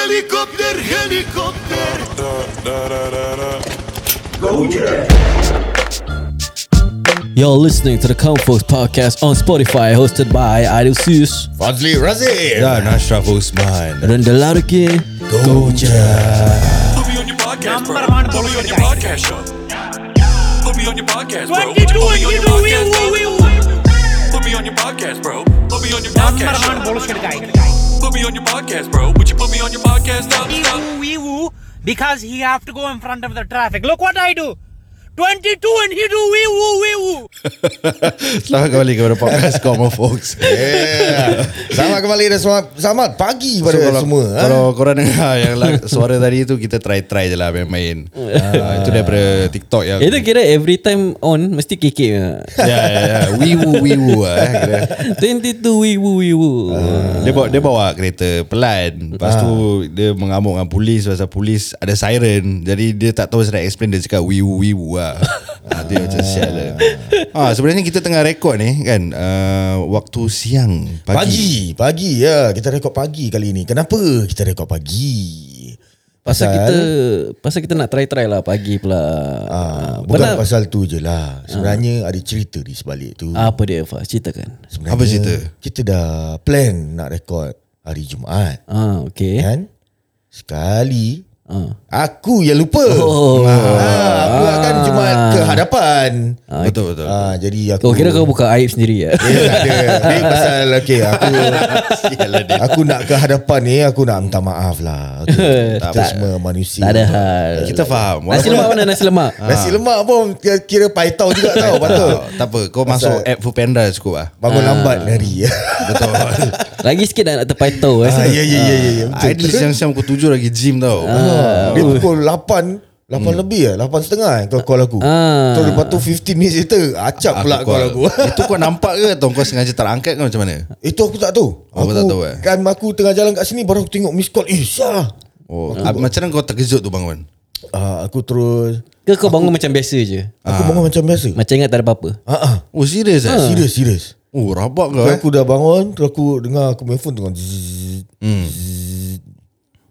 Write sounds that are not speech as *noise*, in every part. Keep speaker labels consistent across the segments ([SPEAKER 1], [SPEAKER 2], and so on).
[SPEAKER 1] helikopter, helikopter.
[SPEAKER 2] You're listening to the Comfort Podcast on Spotify, hosted by Adil Seuss
[SPEAKER 3] Fazli Razif
[SPEAKER 4] Dan Ashraf Osman
[SPEAKER 2] dan Delarke.
[SPEAKER 1] Put me on your podcast, bro. Put me on your podcast, show. Put me on your podcast, bro.
[SPEAKER 5] What
[SPEAKER 1] Put me
[SPEAKER 5] you doing?
[SPEAKER 1] on
[SPEAKER 5] You
[SPEAKER 1] your podcast, bro.
[SPEAKER 5] do it, we will.
[SPEAKER 1] Put me on your podcast, bro. Put me on your podcast, show. Put me on your podcast, bro. Would you put me on your podcast? Stop,
[SPEAKER 5] He
[SPEAKER 1] stop.
[SPEAKER 5] woo, he woo, because he have to go in front of the traffic. Look what I do. 22 and he do wee woo wee woo.
[SPEAKER 4] Selamat kembali kepada podcast Common Folks
[SPEAKER 3] *laughs* yeah. Selamat kembali dan selamat, selamat pagi
[SPEAKER 4] So,
[SPEAKER 3] pada so,
[SPEAKER 4] kalau,
[SPEAKER 3] semua ha?
[SPEAKER 4] Kalau korang dengar yang la, suara tadi tu Kita try-try je lah
[SPEAKER 3] *laughs*
[SPEAKER 4] main-main Ah, Itu daripada TikTok yang
[SPEAKER 3] kan?
[SPEAKER 2] Itu Eh, kira every time on mesti
[SPEAKER 3] *laughs*
[SPEAKER 2] kekek. je.
[SPEAKER 4] Ya ya ya Wiwu wiwu lah eh, kira.
[SPEAKER 2] 22 wee woo wee woo.
[SPEAKER 3] Ah,
[SPEAKER 4] dia bawa, dia bawa kereta pelan Lepas tu dia mengamuk dengan polis Pasal polis ada siren Jadi dia tak tahu saya nak explain Dia cakap wiwu wiwu
[SPEAKER 3] *laughs*
[SPEAKER 4] lah ha, Dia macam sial lah ha, Sebenarnya kita tengah rekod ni kan uh, Waktu siang
[SPEAKER 3] Pagi Pagi ya Kita rekod pagi kali ni Kenapa kita rekod pagi
[SPEAKER 2] Pasal kita pasal kita nak try-try lah pagi pula.
[SPEAKER 3] ah,
[SPEAKER 2] Ah,
[SPEAKER 3] Bukan
[SPEAKER 2] pernah-
[SPEAKER 3] pasal tu je
[SPEAKER 2] Ha.
[SPEAKER 3] lah Sebenarnya ada cerita di sebalik tu
[SPEAKER 2] apa dia Fas ceritakan.
[SPEAKER 3] Sebenarnya
[SPEAKER 4] Apa cerita?
[SPEAKER 3] Kita dah plan nak rekod hari Jumaat
[SPEAKER 2] Ah okey.
[SPEAKER 3] Kan Sekali
[SPEAKER 2] Ah.
[SPEAKER 3] Aku yang lupa
[SPEAKER 2] Oh.
[SPEAKER 3] ah, Aku akan Jumaat ke hadapan
[SPEAKER 4] Betul betul
[SPEAKER 3] ah, Jadi
[SPEAKER 2] Kau
[SPEAKER 3] aku
[SPEAKER 2] kira kau buka aib sendiri ya.
[SPEAKER 3] *laughs* Eh, tak ada. Ni pasal okay, aku
[SPEAKER 4] lah
[SPEAKER 3] aku nak ke hadapan ni aku nak minta maaf lah.
[SPEAKER 2] *laughs*
[SPEAKER 3] Okay, kita
[SPEAKER 4] Tak-
[SPEAKER 3] semua manusia.
[SPEAKER 2] tak ada hal.
[SPEAKER 4] Kita faham
[SPEAKER 2] Nasi lemak mana nasi
[SPEAKER 3] *laughs*
[SPEAKER 2] lemak?
[SPEAKER 3] Ha. Nasi lemak pun kira- kira paitau juga tau betul.
[SPEAKER 4] Tak, tak apa Kau masuk app Foodpanda cukup lah
[SPEAKER 3] Bangun lambat ni hari.
[SPEAKER 4] *laughs* Betul
[SPEAKER 2] Lagi sikit dah nak terpaitau eh.
[SPEAKER 3] Ah, ya ya ya ya ya,
[SPEAKER 4] Ideal
[SPEAKER 3] betul.
[SPEAKER 4] siang-siang pukul 7 lagi gym tau Ha.
[SPEAKER 3] Ah, *laughs* Dia pukul 8 8
[SPEAKER 4] Hmm.
[SPEAKER 3] lebih lah 8 setengah eh, Kau call aku
[SPEAKER 4] Ha.
[SPEAKER 2] Ah.
[SPEAKER 3] Terus lepas tu 15 minit later Acap pula call aku
[SPEAKER 4] *laughs* Itu kau nampak ke Atau kau sengaja tak angkat ke macam mana
[SPEAKER 3] Itu aku tak tahu
[SPEAKER 4] Oh, kau tak tahu, eh?
[SPEAKER 3] Kan aku tengah jalan kat sini Baru aku tengok miss call Eh Syah
[SPEAKER 4] Oh, ah, Macam mana kau terkejut tu bangun
[SPEAKER 3] Ah, Aku terus
[SPEAKER 2] Ke kau bangun macam biasa je?
[SPEAKER 4] Ha.
[SPEAKER 3] Aku bangun macam biasa
[SPEAKER 2] Macam ingat tak ada apa-apa.
[SPEAKER 3] Ah, ah.
[SPEAKER 4] Oh serius eh Serius
[SPEAKER 3] Serius serius
[SPEAKER 4] Oh rabak kau
[SPEAKER 3] Terus
[SPEAKER 4] eh
[SPEAKER 3] aku dah bangun Terus aku dengar Aku main phone tengok zzz, zzz.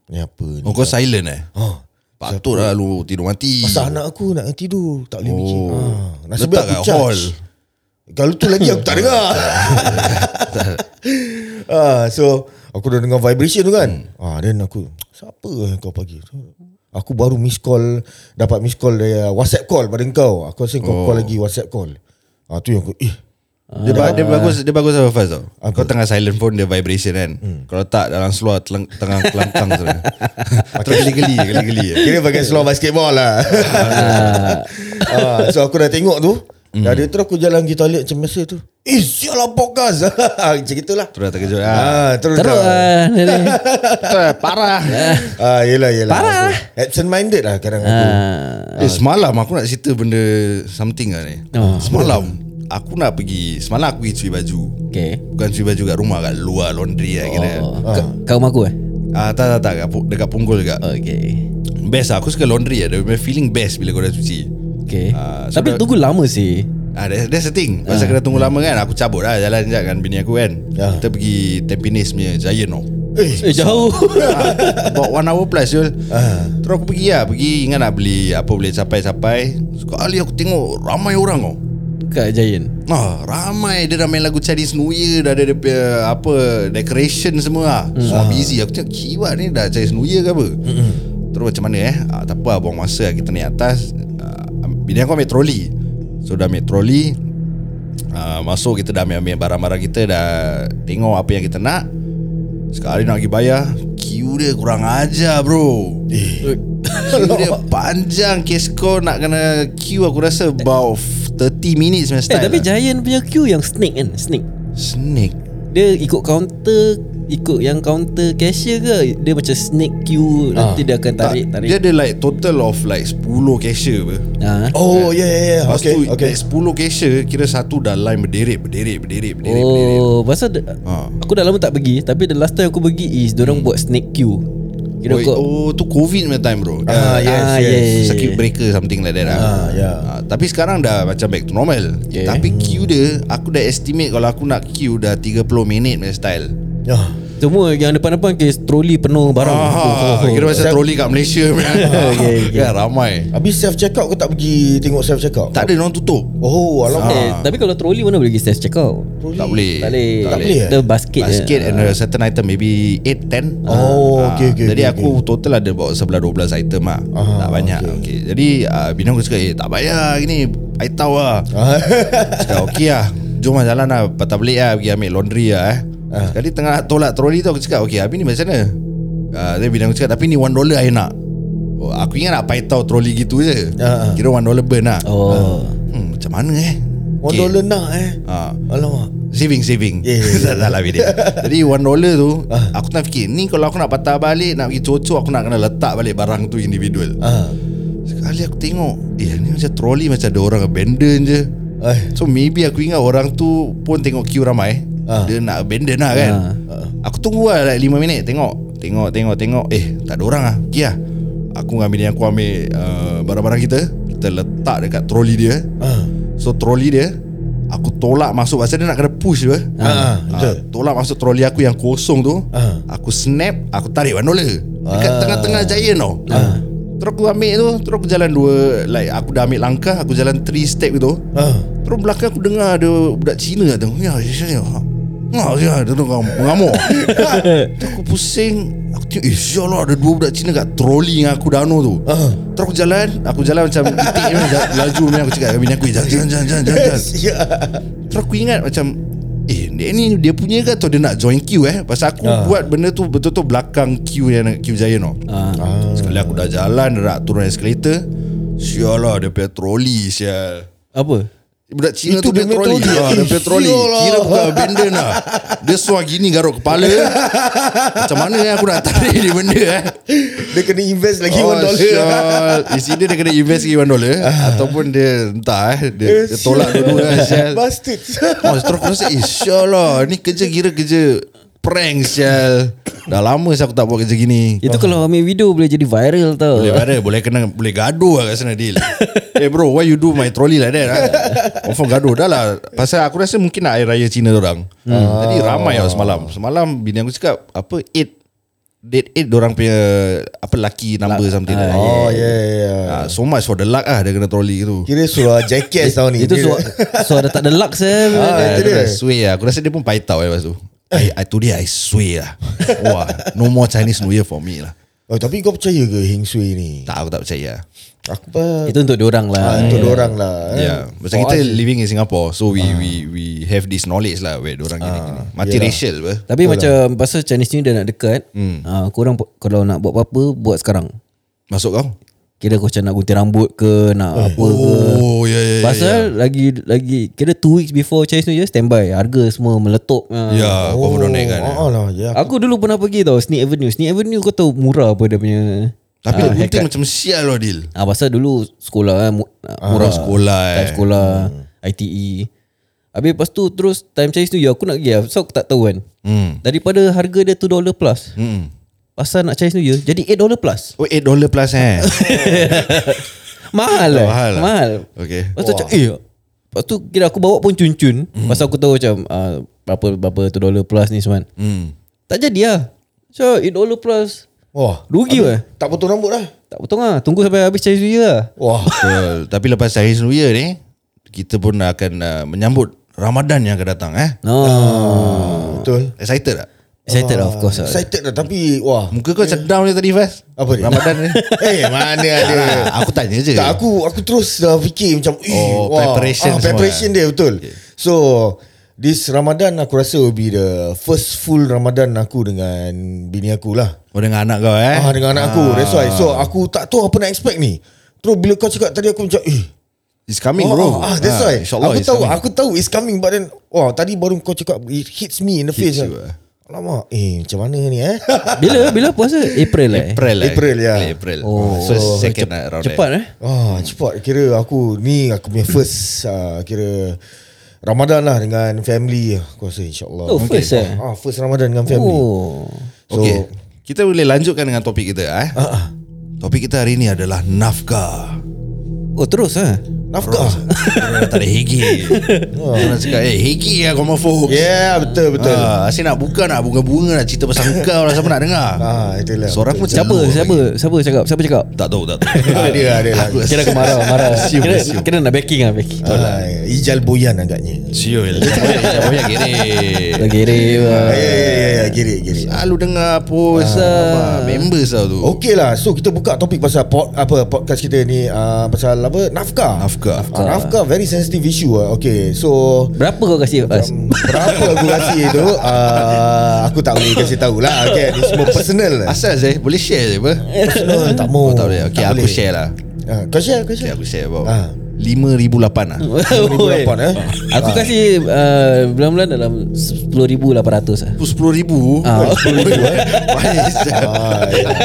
[SPEAKER 3] Ni apa ni
[SPEAKER 4] Hmm. Oh kau silent eh
[SPEAKER 3] Ah,
[SPEAKER 4] Patut lah lu tidur mati
[SPEAKER 3] Pasal anak aku nak tidur Tak boleh fikir
[SPEAKER 4] Oh.
[SPEAKER 3] ah, Nasib
[SPEAKER 4] Letak
[SPEAKER 3] baik aku
[SPEAKER 4] kat
[SPEAKER 3] charge
[SPEAKER 4] hall.
[SPEAKER 3] Kalau tu lagi aku tak *laughs* dengar ah, So Aku dah dengar vibration tu kan ah, Then aku Siapa eh kau pagi tu Aku baru miss call Dapat miss call dari ah, Whatsapp call pada kau Aku rasa kau call lagi Whatsapp call ah, Tu yang aku Eh
[SPEAKER 4] dia, ba- dia bagus dia bagus apa Faz tau Kau tengah silent phone dia vibration kan Kalau tak dalam seluar teleng, tengah kelangkang sana *laughs* Terus *laughs* geli-geli geli-geli eh.
[SPEAKER 3] Kira pakai seluar basketball lah *laughs* ah, So aku dah tengok tu mm. Dah ada terus aku jalan pergi toilet macam biasa tu Eh sial lah podcast *laughs* Macam itulah
[SPEAKER 4] Terus dah terkejut ah.
[SPEAKER 3] ah, Terus,
[SPEAKER 2] Teruk
[SPEAKER 3] dah
[SPEAKER 2] ah. Nenek.
[SPEAKER 4] Parah
[SPEAKER 3] ah, Yelah yelah
[SPEAKER 2] Parah.
[SPEAKER 3] Aku Absent minded lah kadang aku
[SPEAKER 2] *laughs* Ah.
[SPEAKER 4] Eh semalam aku nak cerita benda something lah ni
[SPEAKER 2] Oh.
[SPEAKER 4] Semalam aku nak pergi Semalam aku pergi cuci baju
[SPEAKER 2] Okay.
[SPEAKER 4] Bukan cuci baju kat rumah kat luar laundry lah kira
[SPEAKER 2] Oh. Ka- Kau rumah aku eh?
[SPEAKER 4] Ah tak tak tak kat Pu- dekat punggol juga.
[SPEAKER 2] Okay.
[SPEAKER 4] Best lah aku suka laundry lah Dia punya feeling best bila kau dah cuci
[SPEAKER 2] Okay.
[SPEAKER 4] Ah, so
[SPEAKER 2] Tapi
[SPEAKER 4] dah-
[SPEAKER 2] tunggu lama sih.
[SPEAKER 4] Ah, that's, that's the thing Pasal kena tunggu lama kan Aku cabut lah jalan sekejap kan Bini aku kan
[SPEAKER 3] Ya.
[SPEAKER 4] Kita pergi Tampines punya Giant tau
[SPEAKER 2] Eh jauh.
[SPEAKER 4] *laughs* About one hour plus Jul
[SPEAKER 3] Ah.
[SPEAKER 4] Terus aku pergi lah Pergi ingat nak beli Apa boleh capai-capai Sekali aku tengok Ramai orang oh. tau
[SPEAKER 2] *laughs* Kat Giant.
[SPEAKER 4] Ah, ramai dia dah main lagu Chinese New Year Dah ada dia punya apa Decoration semua lah
[SPEAKER 2] Hmm. Ah.
[SPEAKER 4] Semua busy Aku tengok kiwat ni dah Chinese New Year ke apa Terus macam mana eh ah, Tak apa lah, buang masa lah. Kita naik atas ah, Bini aku ambil troli So dah ambil troli ah, Masuk kita dah ambil-ambil barang-barang kita Dah tengok apa yang kita nak Sekali nak pergi bayar Queue dia kurang ajar bro
[SPEAKER 3] Eh,
[SPEAKER 4] Queue dia panjang Kes kau nak kena queue aku rasa About 30 minutes punya
[SPEAKER 2] Eh
[SPEAKER 4] style
[SPEAKER 2] tapi
[SPEAKER 4] lah.
[SPEAKER 2] Giant punya queue yang snake kan? Snake.
[SPEAKER 4] Snake
[SPEAKER 2] Dia ikut counter ikut yang counter cashier ke dia macam snake queue nanti dia akan tarik
[SPEAKER 4] Ah. tak,
[SPEAKER 2] tarik
[SPEAKER 4] Dia ada like total of like 10 cashier apa
[SPEAKER 2] ah
[SPEAKER 3] Oh ya ya ya
[SPEAKER 4] Lepas okay,
[SPEAKER 3] Okay,
[SPEAKER 4] tu okay. 10
[SPEAKER 3] okay.
[SPEAKER 4] cashier Kira satu dah line berderet Berderet Berderet Berderet, berderet.
[SPEAKER 2] oh pasal de-
[SPEAKER 4] Ah. Hmm.
[SPEAKER 2] aku dah lama tak pergi tapi the last time aku pergi is dorang buat snake queue kira
[SPEAKER 4] Oi,
[SPEAKER 2] kau
[SPEAKER 4] Oh tu covid punya time bro
[SPEAKER 3] Ah, yes,
[SPEAKER 2] Ah,
[SPEAKER 3] yes.
[SPEAKER 2] yeah.
[SPEAKER 4] Circuit breaker something like that lah.
[SPEAKER 3] Ah, yeah.
[SPEAKER 4] Ah, Tapi sekarang dah macam back to normal
[SPEAKER 2] Okay.
[SPEAKER 4] Tapi queue dia Aku dah estimate kalau aku nak queue dah 30 minit punya style
[SPEAKER 3] Ah,
[SPEAKER 2] Semua yang depan-depan Kes troli penuh barang
[SPEAKER 4] Ah, kira
[SPEAKER 2] Eh,
[SPEAKER 4] macam troli kat Malaysia punya.
[SPEAKER 2] Oh. okay, okay.
[SPEAKER 4] *laughs* Kan ramai.
[SPEAKER 3] Habis self check out ke tak pergi tengok self check out?
[SPEAKER 4] Tak ada orang tutup.
[SPEAKER 3] Oh, alamak.
[SPEAKER 2] Eh, tapi kalau troli mana boleh pergi self check out?
[SPEAKER 4] Tak boleh.
[SPEAKER 2] Tak boleh.
[SPEAKER 3] Tak boleh, eh?
[SPEAKER 2] Dia basket,
[SPEAKER 4] Basket
[SPEAKER 2] je. Ah.
[SPEAKER 4] and a certain item maybe 8 10.
[SPEAKER 3] Oh,
[SPEAKER 4] Ah,
[SPEAKER 3] okay, okay,
[SPEAKER 4] Jadi
[SPEAKER 3] okay,
[SPEAKER 4] aku total ada bawa 11 12 item ah. tak banyak. Okay. Jadi uh, bini aku cakap, "Eh, tak payah gini. Aitau ah." *laughs* Cakap okey lah Jom lah jalan lah Patah belik lah Pergi ambil laundry lah eh
[SPEAKER 3] Ah.
[SPEAKER 4] Sekali tengah nak tolak troli tu Aku cakap Okay habis ni macam mana uh, Dia bilang aku cakap Tapi ni one dollar I nak oh, Aku ingat nak paitau troli gitu je
[SPEAKER 3] Ah.
[SPEAKER 4] Kira one dollar burn lah
[SPEAKER 2] Oh.
[SPEAKER 4] hmm, Macam mana eh
[SPEAKER 3] One
[SPEAKER 4] Okay.
[SPEAKER 3] dollar nak eh.
[SPEAKER 4] Ah.
[SPEAKER 3] Alamak.
[SPEAKER 4] Saving saving
[SPEAKER 3] Ya, ya, ya.
[SPEAKER 4] *laughs* Tak salah video Jadi one dollar tu Aku tengah fikir Ni kalau aku nak patah balik Nak pergi cocok Aku nak kena letak balik Barang tu individual
[SPEAKER 3] Ah.
[SPEAKER 4] Sekali aku tengok Eh ni macam troli Macam ada orang abandon je
[SPEAKER 3] Eh.
[SPEAKER 4] So maybe aku ingat orang tu Pun tengok queue ramai
[SPEAKER 3] Ah.
[SPEAKER 4] Dia nak abandon lah kan Aku tunggu lah like 5 minit Tengok Tengok tengok tengok Eh tak ada orang lah Pergi lah Aku dengan bini aku ambil uh, Barang-barang kita Kita letak dekat troli dia
[SPEAKER 3] Ah.
[SPEAKER 4] So troli dia Aku tolak masuk Pasal dia nak kena push apa
[SPEAKER 3] Ah,
[SPEAKER 4] Ah,
[SPEAKER 3] betul.
[SPEAKER 4] Tolak masuk troli aku yang kosong tu
[SPEAKER 3] Ah.
[SPEAKER 4] Aku snap Aku tarik bandola Dekat
[SPEAKER 3] Ah.
[SPEAKER 4] tengah-tengah giant tau Terus aku ambil tu Terus aku jalan dua Like aku dah ambil langkah Aku jalan three step gitu
[SPEAKER 3] Ah.
[SPEAKER 4] Terus belakang aku dengar Ada budak Cina tu Ya ya ya Ha ya Dia tu
[SPEAKER 3] *laughs*
[SPEAKER 4] mengamuk Terus aku pusing Aku tengok Eh sial lah Ada dua budak Cina kat troli Yang aku dano tu
[SPEAKER 3] Ah.
[SPEAKER 4] Terus aku jalan Aku jalan macam Itik ni, jal- *laughs* Laju ni Aku cakap dengan bini aku "Eh, Jangan jangan jangan jangan, jangan.
[SPEAKER 3] *laughs* Ya.
[SPEAKER 4] Terus aku ingat macam Eh dia ni dia punya ke Atau dia nak join queue eh Pasal aku
[SPEAKER 3] Ah.
[SPEAKER 4] buat benda tu Betul-betul belakang queue yang Queue Giant tau
[SPEAKER 2] Ah.
[SPEAKER 4] Sekali aku dah jalan Dah nak turun eskalator Sial lah Dia punya troli sial
[SPEAKER 2] Apa?
[SPEAKER 4] Budak Cina tu
[SPEAKER 3] Itu dia
[SPEAKER 4] punya
[SPEAKER 3] punya
[SPEAKER 4] troli
[SPEAKER 3] troli.
[SPEAKER 4] ha, Dia punya troli
[SPEAKER 3] Sial lah.
[SPEAKER 4] Kira bukan abandon lah Dia suar gini garuk kepala Macam mana eh aku nak tarik ni benda eh
[SPEAKER 3] Dia kena invest lagi
[SPEAKER 4] Oh,
[SPEAKER 3] one *laughs* dollar. Ah.
[SPEAKER 4] sial. Isi dia dia kena invest lagi 1 dollar Ataupun dia entah eh Dia, dia tolak
[SPEAKER 3] sial.
[SPEAKER 4] dulu lah sial
[SPEAKER 3] *laughs* Bastard.
[SPEAKER 4] Oh, terus aku rasa Insya Ni kerja kira kerja Prank sial Dah lama saya aku tak buat kerja gini
[SPEAKER 2] Itu kalau ambil video boleh jadi viral tau.
[SPEAKER 4] Boleh viral Boleh kena Boleh gaduh lah kat sana deal Eh hey bro Why you do my trolley like that ha? Confirm gaduh Dah lah Pasal aku rasa mungkin Nak air raya Cina orang hmm. Tadi ramai lah semalam Semalam bini aku cakap Apa eight Date eight Diorang punya Apa lucky number something like that.
[SPEAKER 3] Oh, ya ya ya.
[SPEAKER 4] Ah, So much for the luck ah Dia kena trolley tu
[SPEAKER 3] Kira suara jacket tahun
[SPEAKER 2] Eh,
[SPEAKER 3] ni.
[SPEAKER 2] Itu
[SPEAKER 3] Dia-
[SPEAKER 2] suara, suara tak ada luck saya.
[SPEAKER 3] Ah,
[SPEAKER 4] *laughs* Ah,
[SPEAKER 3] itu
[SPEAKER 4] dia
[SPEAKER 3] dia.
[SPEAKER 4] dah sway lah Aku rasa dia pun paitau lah lepas tu I, I today I sway *laughs* lah Wah No more Chinese New Year for me lah
[SPEAKER 3] Oh, tapi kau percaya ke Heng Sui ni?
[SPEAKER 4] Tak aku tak percaya lah.
[SPEAKER 3] Aku pa,
[SPEAKER 2] Itu untuk diorang lah.
[SPEAKER 3] ah, untuk orang lah.
[SPEAKER 4] Ya
[SPEAKER 3] eh.
[SPEAKER 4] yeah. Macam
[SPEAKER 3] For
[SPEAKER 4] kita
[SPEAKER 3] us-
[SPEAKER 4] living in Singapore So we we we have this knowledge lah Where orang gini-gini Multiracial apa
[SPEAKER 2] Tapi
[SPEAKER 4] lah.
[SPEAKER 2] macam pasal Chinese New Year dah nak dekat,
[SPEAKER 4] Hmm.
[SPEAKER 2] ah, korang po- kalau nak buat apa-apa buat sekarang.
[SPEAKER 4] Masuk kau
[SPEAKER 2] Kira kau macam nak gunting rambut ke, nak apa ke.
[SPEAKER 4] Oh ya ya
[SPEAKER 2] Pasal lagi lagi kira 2 weeks before Chinese New Year standby, harga semua meletup. ah.
[SPEAKER 4] Ya kau pun naik kan
[SPEAKER 3] Oh, oh lah, ya.
[SPEAKER 2] Aku dulu pernah pergi tau Sneak Avenue. Sneak Avenue kau tahu murah apa dia punya.
[SPEAKER 4] Tapi dia gunting macam sial lah Dil
[SPEAKER 2] Ah pasal dulu sekolah kan mu- murah lah,
[SPEAKER 4] sekolah, eh. Hmm.
[SPEAKER 2] Time sekolah ITE. Habis lepas tu terus time Chinese New Year aku nak pergi lah. So aku tak tahu kan.
[SPEAKER 4] Hmm
[SPEAKER 2] Daripada harga dia $2 plus.
[SPEAKER 4] Hmm
[SPEAKER 2] Pasal nak Chinese New Year jadi $8 plus.
[SPEAKER 4] Oh 8 dollar plus *laughs* eh
[SPEAKER 2] Mahal lah.
[SPEAKER 4] Mahal
[SPEAKER 2] Mahal.
[SPEAKER 4] lah.
[SPEAKER 2] Mahal.
[SPEAKER 4] Okay
[SPEAKER 2] Lepas tu macam eh. Lepas tu kira aku bawa pun cun-cun.
[SPEAKER 4] Hmm.
[SPEAKER 2] Pasal aku tahu macam ah, berapa berapa $2 plus ni semua.
[SPEAKER 4] Hmm
[SPEAKER 2] Tak jadi lah. So $8 plus.
[SPEAKER 3] Wah,
[SPEAKER 2] Rugi lah.
[SPEAKER 3] tak potong rambut lah.
[SPEAKER 2] Tak potong lah. Tunggu sampai habis Chinese New Year lah.
[SPEAKER 4] *laughs*
[SPEAKER 3] Wah,
[SPEAKER 4] Betul. Tapi lepas Chinese New Year ni kita pun akan uh, menyambut Ramadan yang akan datang eh.
[SPEAKER 2] No.
[SPEAKER 3] betul.
[SPEAKER 4] Excited tak?
[SPEAKER 2] Excited lah of course lah.
[SPEAKER 3] Excited dah tapi wah.
[SPEAKER 4] Muka kau macam down je tadi Fas.
[SPEAKER 3] Apa dia?
[SPEAKER 4] Ramadan ni.
[SPEAKER 3] *laughs* eh, mana ada.
[SPEAKER 4] Ah, aku tanya je.
[SPEAKER 3] Tak aku aku terus dah fikir macam eh,
[SPEAKER 4] Oh, preparation
[SPEAKER 3] ah,
[SPEAKER 4] semua,
[SPEAKER 3] preparation
[SPEAKER 4] eh.
[SPEAKER 3] dia betul. So this Ramadan aku rasa will be the first full Ramadan aku dengan bini aku lah.
[SPEAKER 4] Oh dengan anak kau eh. Ah.
[SPEAKER 3] Ah dengan anak aku. That's why. So aku tak tahu apa nak expect ni. Terus bila kau cakap tadi aku macam eh
[SPEAKER 4] It's coming
[SPEAKER 3] Oh,
[SPEAKER 4] bro.
[SPEAKER 3] Ah, that's why.
[SPEAKER 4] InsyaAllah
[SPEAKER 3] aku
[SPEAKER 4] it's
[SPEAKER 3] tahu,
[SPEAKER 4] coming.
[SPEAKER 3] aku tahu it's coming but then wah tadi baru kau cakap it hits me in the
[SPEAKER 4] Hits
[SPEAKER 3] face. kan.
[SPEAKER 4] you, ah.
[SPEAKER 3] Alamak, eh macam mana ni eh? *laughs*
[SPEAKER 2] Bila bila puasa? April lah. Eh?
[SPEAKER 4] April lah.
[SPEAKER 3] April, ya.
[SPEAKER 4] April.
[SPEAKER 2] Oh,
[SPEAKER 4] so second lah round
[SPEAKER 2] Cepat eh.
[SPEAKER 3] Ah, cepat kira aku ni aku punya first ah, kira Ramadan lah dengan family aku rasa insyaallah.
[SPEAKER 2] Oh, first eh.
[SPEAKER 3] Ah, first Ramadan dengan family.
[SPEAKER 2] Oh.
[SPEAKER 3] So,
[SPEAKER 4] Okay. Kita boleh lanjutkan dengan
[SPEAKER 3] Ah, *laughs*
[SPEAKER 4] topik kita eh. Topik kita hari ni adalah nafkah.
[SPEAKER 2] Oh terus ah.
[SPEAKER 3] Nafkah
[SPEAKER 4] Orang tak ada hegi Orang cakap Eh hegi lah homophobe
[SPEAKER 3] Oh. Yeah betul betul
[SPEAKER 4] Ah, asyik nak buka nak bunga-bunga nak cerita pasal kau lah siapa nak dengar.
[SPEAKER 3] Ah, itulah.
[SPEAKER 4] Suara aku macam
[SPEAKER 2] Siapa
[SPEAKER 4] lembut
[SPEAKER 2] siapa siapa cakap? Siapa cakap?
[SPEAKER 4] lagi. Tak tahu tak tahu.
[SPEAKER 3] Ada ada lah
[SPEAKER 4] Aku-
[SPEAKER 2] Kira aku marah marah.
[SPEAKER 4] Assume,
[SPEAKER 2] Kira,
[SPEAKER 4] assume.
[SPEAKER 2] kira nak backing ah backing.
[SPEAKER 4] lah.
[SPEAKER 3] Ah, Ijal Boyan agaknya
[SPEAKER 4] Siul. Siapa yang kiri?
[SPEAKER 3] Eh.
[SPEAKER 2] Lagi ah.
[SPEAKER 4] Ah.
[SPEAKER 3] Ya
[SPEAKER 2] rewa.
[SPEAKER 3] ya ya ya Giri giri
[SPEAKER 4] Selalu Ah, dengar post ah, members tau tu.
[SPEAKER 3] Okey lah So kita buka topik pasal pod, apa podcast kita ni uh, Pasal apa Nafkah
[SPEAKER 4] Nafkah.
[SPEAKER 3] Ah, Nafkah very sensitive issue lah Okay so
[SPEAKER 2] Berapa kau kasih Fas?
[SPEAKER 3] um, Berapa aku kasih tu uh, Aku tak boleh kasih tahu lah Okay ni semua personal lah
[SPEAKER 4] Asal Zeh boleh share je apa?
[SPEAKER 3] Personal tak mau
[SPEAKER 4] Oh, tak boleh. Okey aku share lah.
[SPEAKER 3] uh, Kau share Kau
[SPEAKER 4] Okey
[SPEAKER 3] share
[SPEAKER 4] aku share about
[SPEAKER 3] Ah.
[SPEAKER 4] 5008 lah.
[SPEAKER 2] Oi.
[SPEAKER 3] 2008 eh
[SPEAKER 2] *laughs* Aku kasih uh, bulan-bulan dalam 10,800 lah. Ah.
[SPEAKER 4] 10000
[SPEAKER 3] eh? Ah, yeah.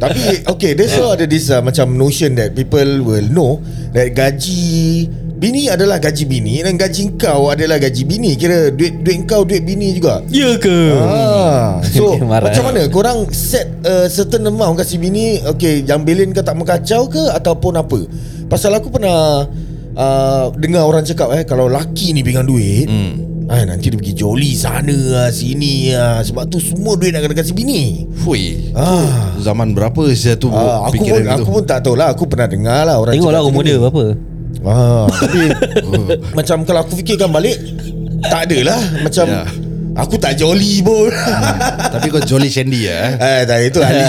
[SPEAKER 3] Tapi Okay There's so ada this uh, Macam notion that People will know That gaji Bini adalah gaji bini Dan gaji kau adalah gaji bini Kira duit duit kau Duit bini juga
[SPEAKER 2] Ya ke?
[SPEAKER 3] Ah, so
[SPEAKER 2] Marah.
[SPEAKER 3] macam mana korang set a certain amount kasi bini okay yang belin ke tak mengkacau ke ataupun apa pasal aku pernah uh, dengar orang cakap eh kalau laki ni pegang duit hmm. ay, nanti dia pergi joli sana lah, sini lah. sebab tu semua duit nak kena kasi bini
[SPEAKER 4] Fui.
[SPEAKER 3] ah,
[SPEAKER 4] Zaman berapa saya tu
[SPEAKER 3] ah aku pun
[SPEAKER 4] fikiran
[SPEAKER 3] aku
[SPEAKER 4] gitu?
[SPEAKER 3] pun tak tahu lah aku pernah dengar lah orang
[SPEAKER 2] Tengoklah
[SPEAKER 3] cakap
[SPEAKER 2] umur dia
[SPEAKER 3] macam ni.
[SPEAKER 2] berapa.
[SPEAKER 3] Ah, tapi macam kalau aku fikirkan balik tak adalah macam
[SPEAKER 4] Ya.
[SPEAKER 3] aku tak joli pun
[SPEAKER 4] Tapi kau Jolly Shandy ya. Eh?
[SPEAKER 3] *laughs* Eh, tak itu Ali.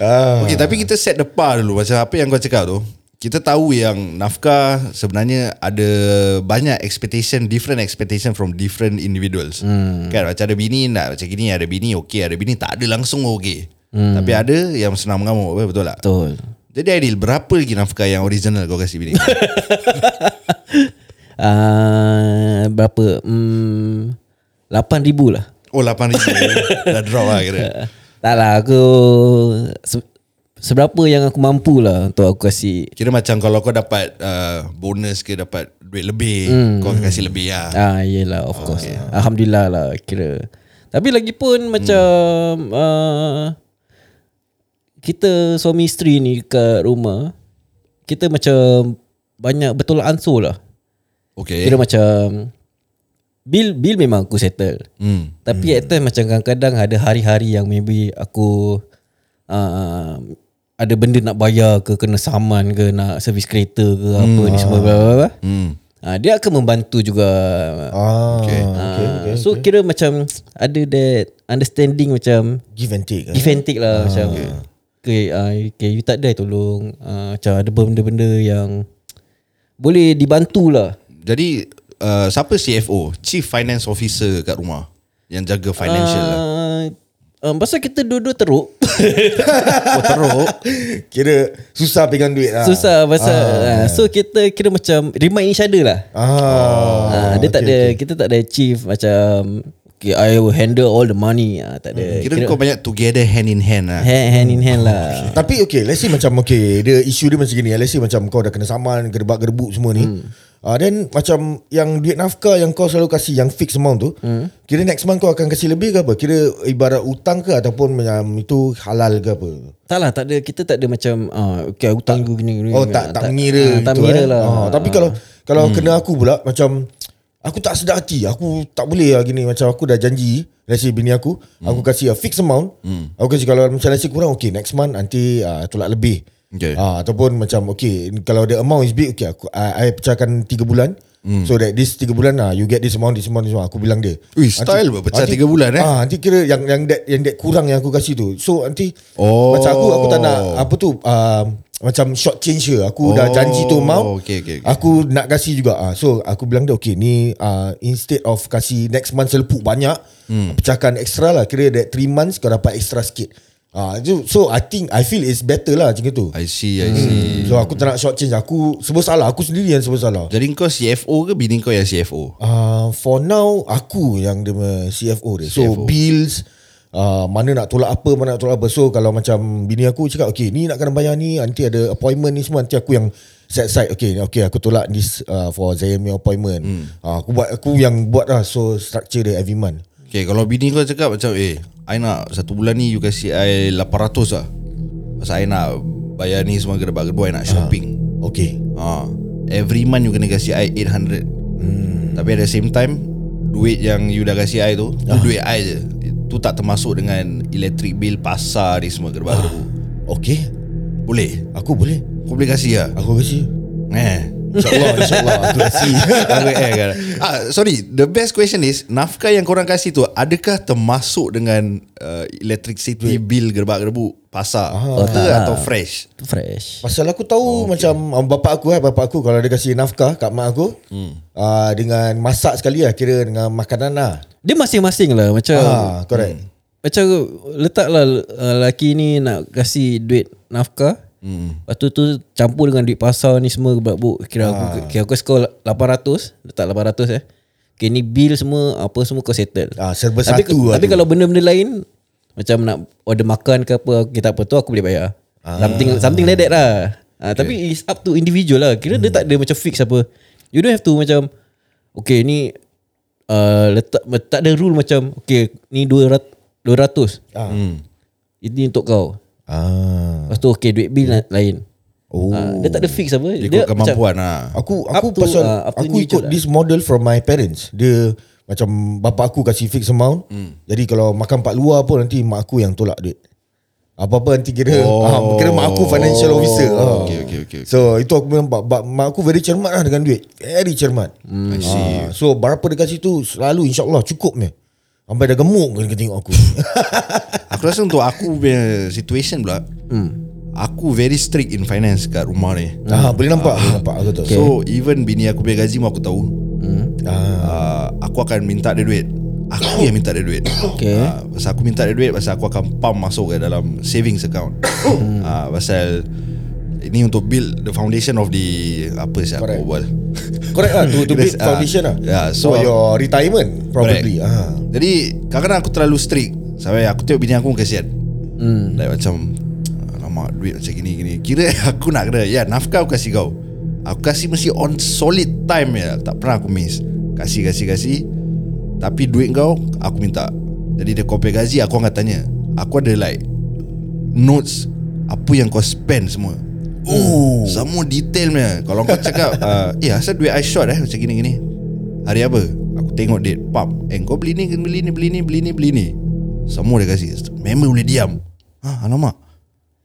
[SPEAKER 3] ah.
[SPEAKER 4] Okay, tapi kita set the bar dulu Macam apa yang kau cakap tu Kita tahu yang nafkah sebenarnya ada banyak expectation Different expectation from different individuals hmm. Kan macam ada bini nak macam gini Ada bini okey, ada bini tak ada langsung okey hmm. Tapi ada yang senang mengamuk betul- Betul tak?
[SPEAKER 2] Betul.
[SPEAKER 4] Jadi Aidil, berapa lagi nafkah yang original kau kasih *laughs* bini?
[SPEAKER 2] Ah, berapa? Hmm, 8,000 lah.
[SPEAKER 4] oh, 8 ribu Dah drop lah kira
[SPEAKER 2] Tak lah aku se- Seberapa yang aku mampu lah Untuk aku kasih
[SPEAKER 4] Kira macam kalau kau dapat uh, bonus ke dapat duit lebih Kau kasih lebih lah
[SPEAKER 2] Ah yelah of course Alhamdulillah lah kira Tapi lagi pun macam uh, Kita suami isteri ni kat rumah Kita macam Banyak betul ansur lah
[SPEAKER 4] Okay
[SPEAKER 2] Kira macam Bil bil memang aku settle
[SPEAKER 4] hmm.
[SPEAKER 2] Tapi hmm. at time macam kadang-kadang ada hari-hari yang maybe aku uh, ada benda nak bayar ke kena saman ke nak servis kereta ke hmm. apa ni semua bla bla bla.
[SPEAKER 4] Hmm.
[SPEAKER 2] Uh, dia akan membantu juga.
[SPEAKER 3] Ah, okay.
[SPEAKER 2] Okay, okay, so okay. kira macam ada that understanding macam
[SPEAKER 3] Give and take. eh?
[SPEAKER 2] give and take lah macam okay, uh, okay you tak ada tolong uh, macam ada benda-benda yang boleh dibantu lah.
[SPEAKER 4] Jadi uh, siapa CFO? Chief Finance Officer kat rumah yang jaga financial lah.
[SPEAKER 2] Uh, um, pasal kita dua-dua teruk
[SPEAKER 4] Oh teruk.
[SPEAKER 3] *laughs* Kira susah pegang duit lah.
[SPEAKER 2] *laughs* Susah pasal ah. So kita kira macam Remind each other lah ah,
[SPEAKER 3] Ah.
[SPEAKER 2] Dia tak ada Kita tak ada chief Macam okay, I will handle all the money ah, Tak ada
[SPEAKER 4] Kira, kau banyak together hand in hand lah.
[SPEAKER 2] hand, hand in hand lah
[SPEAKER 3] Tapi okay, let's say macam okay, dia isu dia macam gini. eh. Let's say macam kau dah kena saman, gerbak-gerbuk semua ni. Hmm. Uh, then macam yang duit nafkah yang kau selalu kasih yang fixed amount tu hmm. Kira next month kau akan kasih lebih ke apa? Kira ibarat utang ke ataupun macam itu halal ke apa?
[SPEAKER 2] Tak lah tak ada Kita tak ada macam ah, Okay hutang aku gini, gini
[SPEAKER 3] Oh tak tak mengira
[SPEAKER 2] ah, Tak mengira lah
[SPEAKER 3] Ah, tapi kalau kalau
[SPEAKER 4] Hmm.
[SPEAKER 3] kena aku pula macam aku tak sedar hati. Aku tak boleh lah gini macam aku dah janji let's say bini aku,
[SPEAKER 4] Hmm.
[SPEAKER 3] aku kasih a fixed amount. Aku kasi kalau macam let's say kurang okay next month nanti uh, tolak lebih.
[SPEAKER 4] Okay.
[SPEAKER 3] Ah, ataupun macam okay kalau the amount is big okay aku I, I pecahkan 3 bulan.
[SPEAKER 4] Hmm.
[SPEAKER 3] So that this 3 bulan ah you get this amount this amount this amount aku bilang dia.
[SPEAKER 4] Ui, style buat pecah tiga bulan, eh?
[SPEAKER 3] Ah nanti kira yang yang that yang that kurang yang aku kasih tu. So nanti
[SPEAKER 4] Oh.
[SPEAKER 3] macam aku aku tak nak apa tu uh, macam short change dia. Aku aku dah
[SPEAKER 4] Oh,
[SPEAKER 3] janji tu amount
[SPEAKER 4] okay, okay, okay.
[SPEAKER 3] Aku nak kasih juga ah. So aku bilang dia Okay ni ah, Instead of kasih Next month selepuk banyak hmm. Pecahkan extra lah Kira that 3 months Kau dapat extra sikit ah, so, so I think I feel it's better lah Macam itu Hmm.
[SPEAKER 4] I see,
[SPEAKER 2] Hmm.
[SPEAKER 4] I see.
[SPEAKER 3] So aku tak nak short change Aku Sebab salah Aku sendiri yang sebab salah
[SPEAKER 4] Jadi kau CFO ke bini kau yang CFO?
[SPEAKER 3] uh, For now Aku yang dia punya CFO dia So
[SPEAKER 4] CFO.
[SPEAKER 3] bills uh, Mana nak tolak apa Mana nak tolak apa So kalau macam Bini aku cakap Okay ni nak kena bayar ni Nanti ada appointment ni semua Nanti aku yang Set side Okay, okay aku tolak this uh, For Zayn punya appointment hmm. uh, Aku buat Aku yang buat lah So structure dia every month
[SPEAKER 4] Okay, kalau bini kau cakap macam eh, I nak satu bulan ni you kasih
[SPEAKER 2] Ah.
[SPEAKER 4] I 800 lah. Pasal I nak bayar ni semua gerbak-gerbuk, I nak shopping.
[SPEAKER 3] Okay
[SPEAKER 4] ha, Every month you kena kasi I 800 Tapi at the same time Duit yang you dah kasi I tu Tu duit I je Itu tak termasuk dengan Electric bill Pasar ni semua Kena baru
[SPEAKER 3] Okay
[SPEAKER 4] Ah. Boleh
[SPEAKER 3] Aku boleh
[SPEAKER 4] Kau boleh kasi lah
[SPEAKER 3] Aku kasi
[SPEAKER 4] Eh
[SPEAKER 3] InsyaAllah InsyaAllah *laughs* Aku kasi
[SPEAKER 4] Aku eh kan. Ah, sorry, the best question is nafkah yang korang kasih tu adakah termasuk dengan uh, electricity bill gerbak-gerbu pasar? Ah, atau fresh?
[SPEAKER 2] Fresh
[SPEAKER 3] Pasal aku tahu oh, okay. macam um, bapa aku eh bapa aku kalau dia kasi nafkah kat mak aku hmm. uh, dengan masak sekali lah kira dengan makanan lah.
[SPEAKER 2] Dia masing-masing lah Macam
[SPEAKER 3] Ah, correct. Hmm.
[SPEAKER 2] Macam letaklah uh, lelaki ni nak kasi duit nafkah. Hmm. Lepas tu, tu campur dengan duit pasar ni semua berabuk. Kira aku
[SPEAKER 3] Ah.
[SPEAKER 2] kira aku skor 800, letak 800 eh. Okay ni bill semua apa semua kau settle.
[SPEAKER 3] Ah, serba
[SPEAKER 2] tapi,
[SPEAKER 3] satu lah
[SPEAKER 2] Tapi
[SPEAKER 3] tu.
[SPEAKER 2] kalau benda-benda lain macam nak order makan ke apa kita apa tu aku boleh bayar.
[SPEAKER 3] Ah.
[SPEAKER 2] Something something like that lah. Ah, okay. tapi it's up to individual lah. Kira
[SPEAKER 3] Hmm.
[SPEAKER 2] dia tak ada macam fix apa. You don't have to macam okay ni uh, letak tak ada rule macam okay ni 200 200.
[SPEAKER 3] Ah.
[SPEAKER 2] Ini untuk kau.
[SPEAKER 3] Ah.
[SPEAKER 2] Lepas tu okay duit bil la- lain.
[SPEAKER 3] Oh.
[SPEAKER 2] Ah, dia tak ada fix apa.
[SPEAKER 4] Ikut kemampuan lah.
[SPEAKER 3] Aku
[SPEAKER 2] Up
[SPEAKER 3] aku
[SPEAKER 2] to,
[SPEAKER 3] pasal
[SPEAKER 2] ah, up to
[SPEAKER 3] aku
[SPEAKER 2] individual
[SPEAKER 3] ikut
[SPEAKER 2] lah.
[SPEAKER 3] this model from my parents. Dia macam bapa aku kasi fixed amount. Hmm. Jadi kalau makan kat luar pun nanti mak aku yang tolak duit. Apa-apa nanti kira oh. ah, kira mak aku financial officer. Ah.
[SPEAKER 4] Okay, okay, okay.
[SPEAKER 3] So itu aku memang bab- bab- mak aku very cermat lah dengan duit. Very cermat. Hmm. Ah, so berapa dia kasi tu selalu insyaallah cukup ni. Sampai dah gemuk kena tengok aku.
[SPEAKER 4] Aku rasa untuk aku punya situation pula. Hmm. Aku very strict in finance kat rumah ni.
[SPEAKER 3] ah, boleh nampak, boleh nampak aku tahu.
[SPEAKER 4] Okay. So even bini aku punya gaji pun aku tahu. Ah. Uh, aku akan minta dia duit. Aku yang minta dia duit.
[SPEAKER 2] Okay.
[SPEAKER 4] Ah, pasal aku minta dia duit pasal aku akan pump masuk ke dalam savings account. Ah, pasal ini untuk build the foundation of the apa sih
[SPEAKER 3] Correct.
[SPEAKER 4] aku bual.
[SPEAKER 3] Correct lah to, to
[SPEAKER 4] Kira-
[SPEAKER 3] build foundation
[SPEAKER 4] ah,
[SPEAKER 3] lah.
[SPEAKER 4] yeah, so-
[SPEAKER 3] for your retirement probably.
[SPEAKER 4] Correct.
[SPEAKER 3] Ah.
[SPEAKER 4] Jadi kadang-kadang aku terlalu strict Sampai aku tengok bini aku pun kasihan hmm. Like macam Alamak duit macam gini gini Kira *laughs* aku nak kena Ya nafkah aku kasih kau Aku kasih mesti on solid time ya Tak pernah aku miss Kasih kasih kasih Tapi duit kau Aku minta Jadi dia kopek gaji Aku akan tanya Aku ada like Notes Apa yang kau spend semua Oh Semua detailnya Kalau kau cakap *laughs* uh, Eh asal duit I short eh Macam gini gini Hari apa? Aku tengok date Pam Eh kau beli ni Beli ni Beli ni Beli ni Beli ni Semua dia kasi Memang boleh diam Ha alamak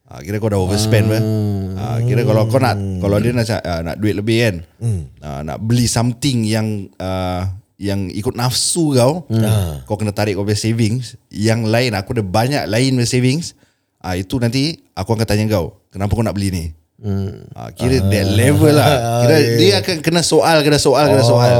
[SPEAKER 4] ha, Kira kau dah overspend hmm. ha, Kira kalau kau nak Kalau dia nak cak- ah, nak duit lebih kan hmm. ha, Nak beli something yang uh, Yang ikut nafsu kau hmm. Kau kena tarik kau punya savings Yang lain Aku ada banyak lain punya savings ha, Itu nanti Aku akan tanya kau Kenapa kau nak beli ni hmm. ha, Kira that level *laughs* lah Kira dia akan kena soal Kena soal Kena soal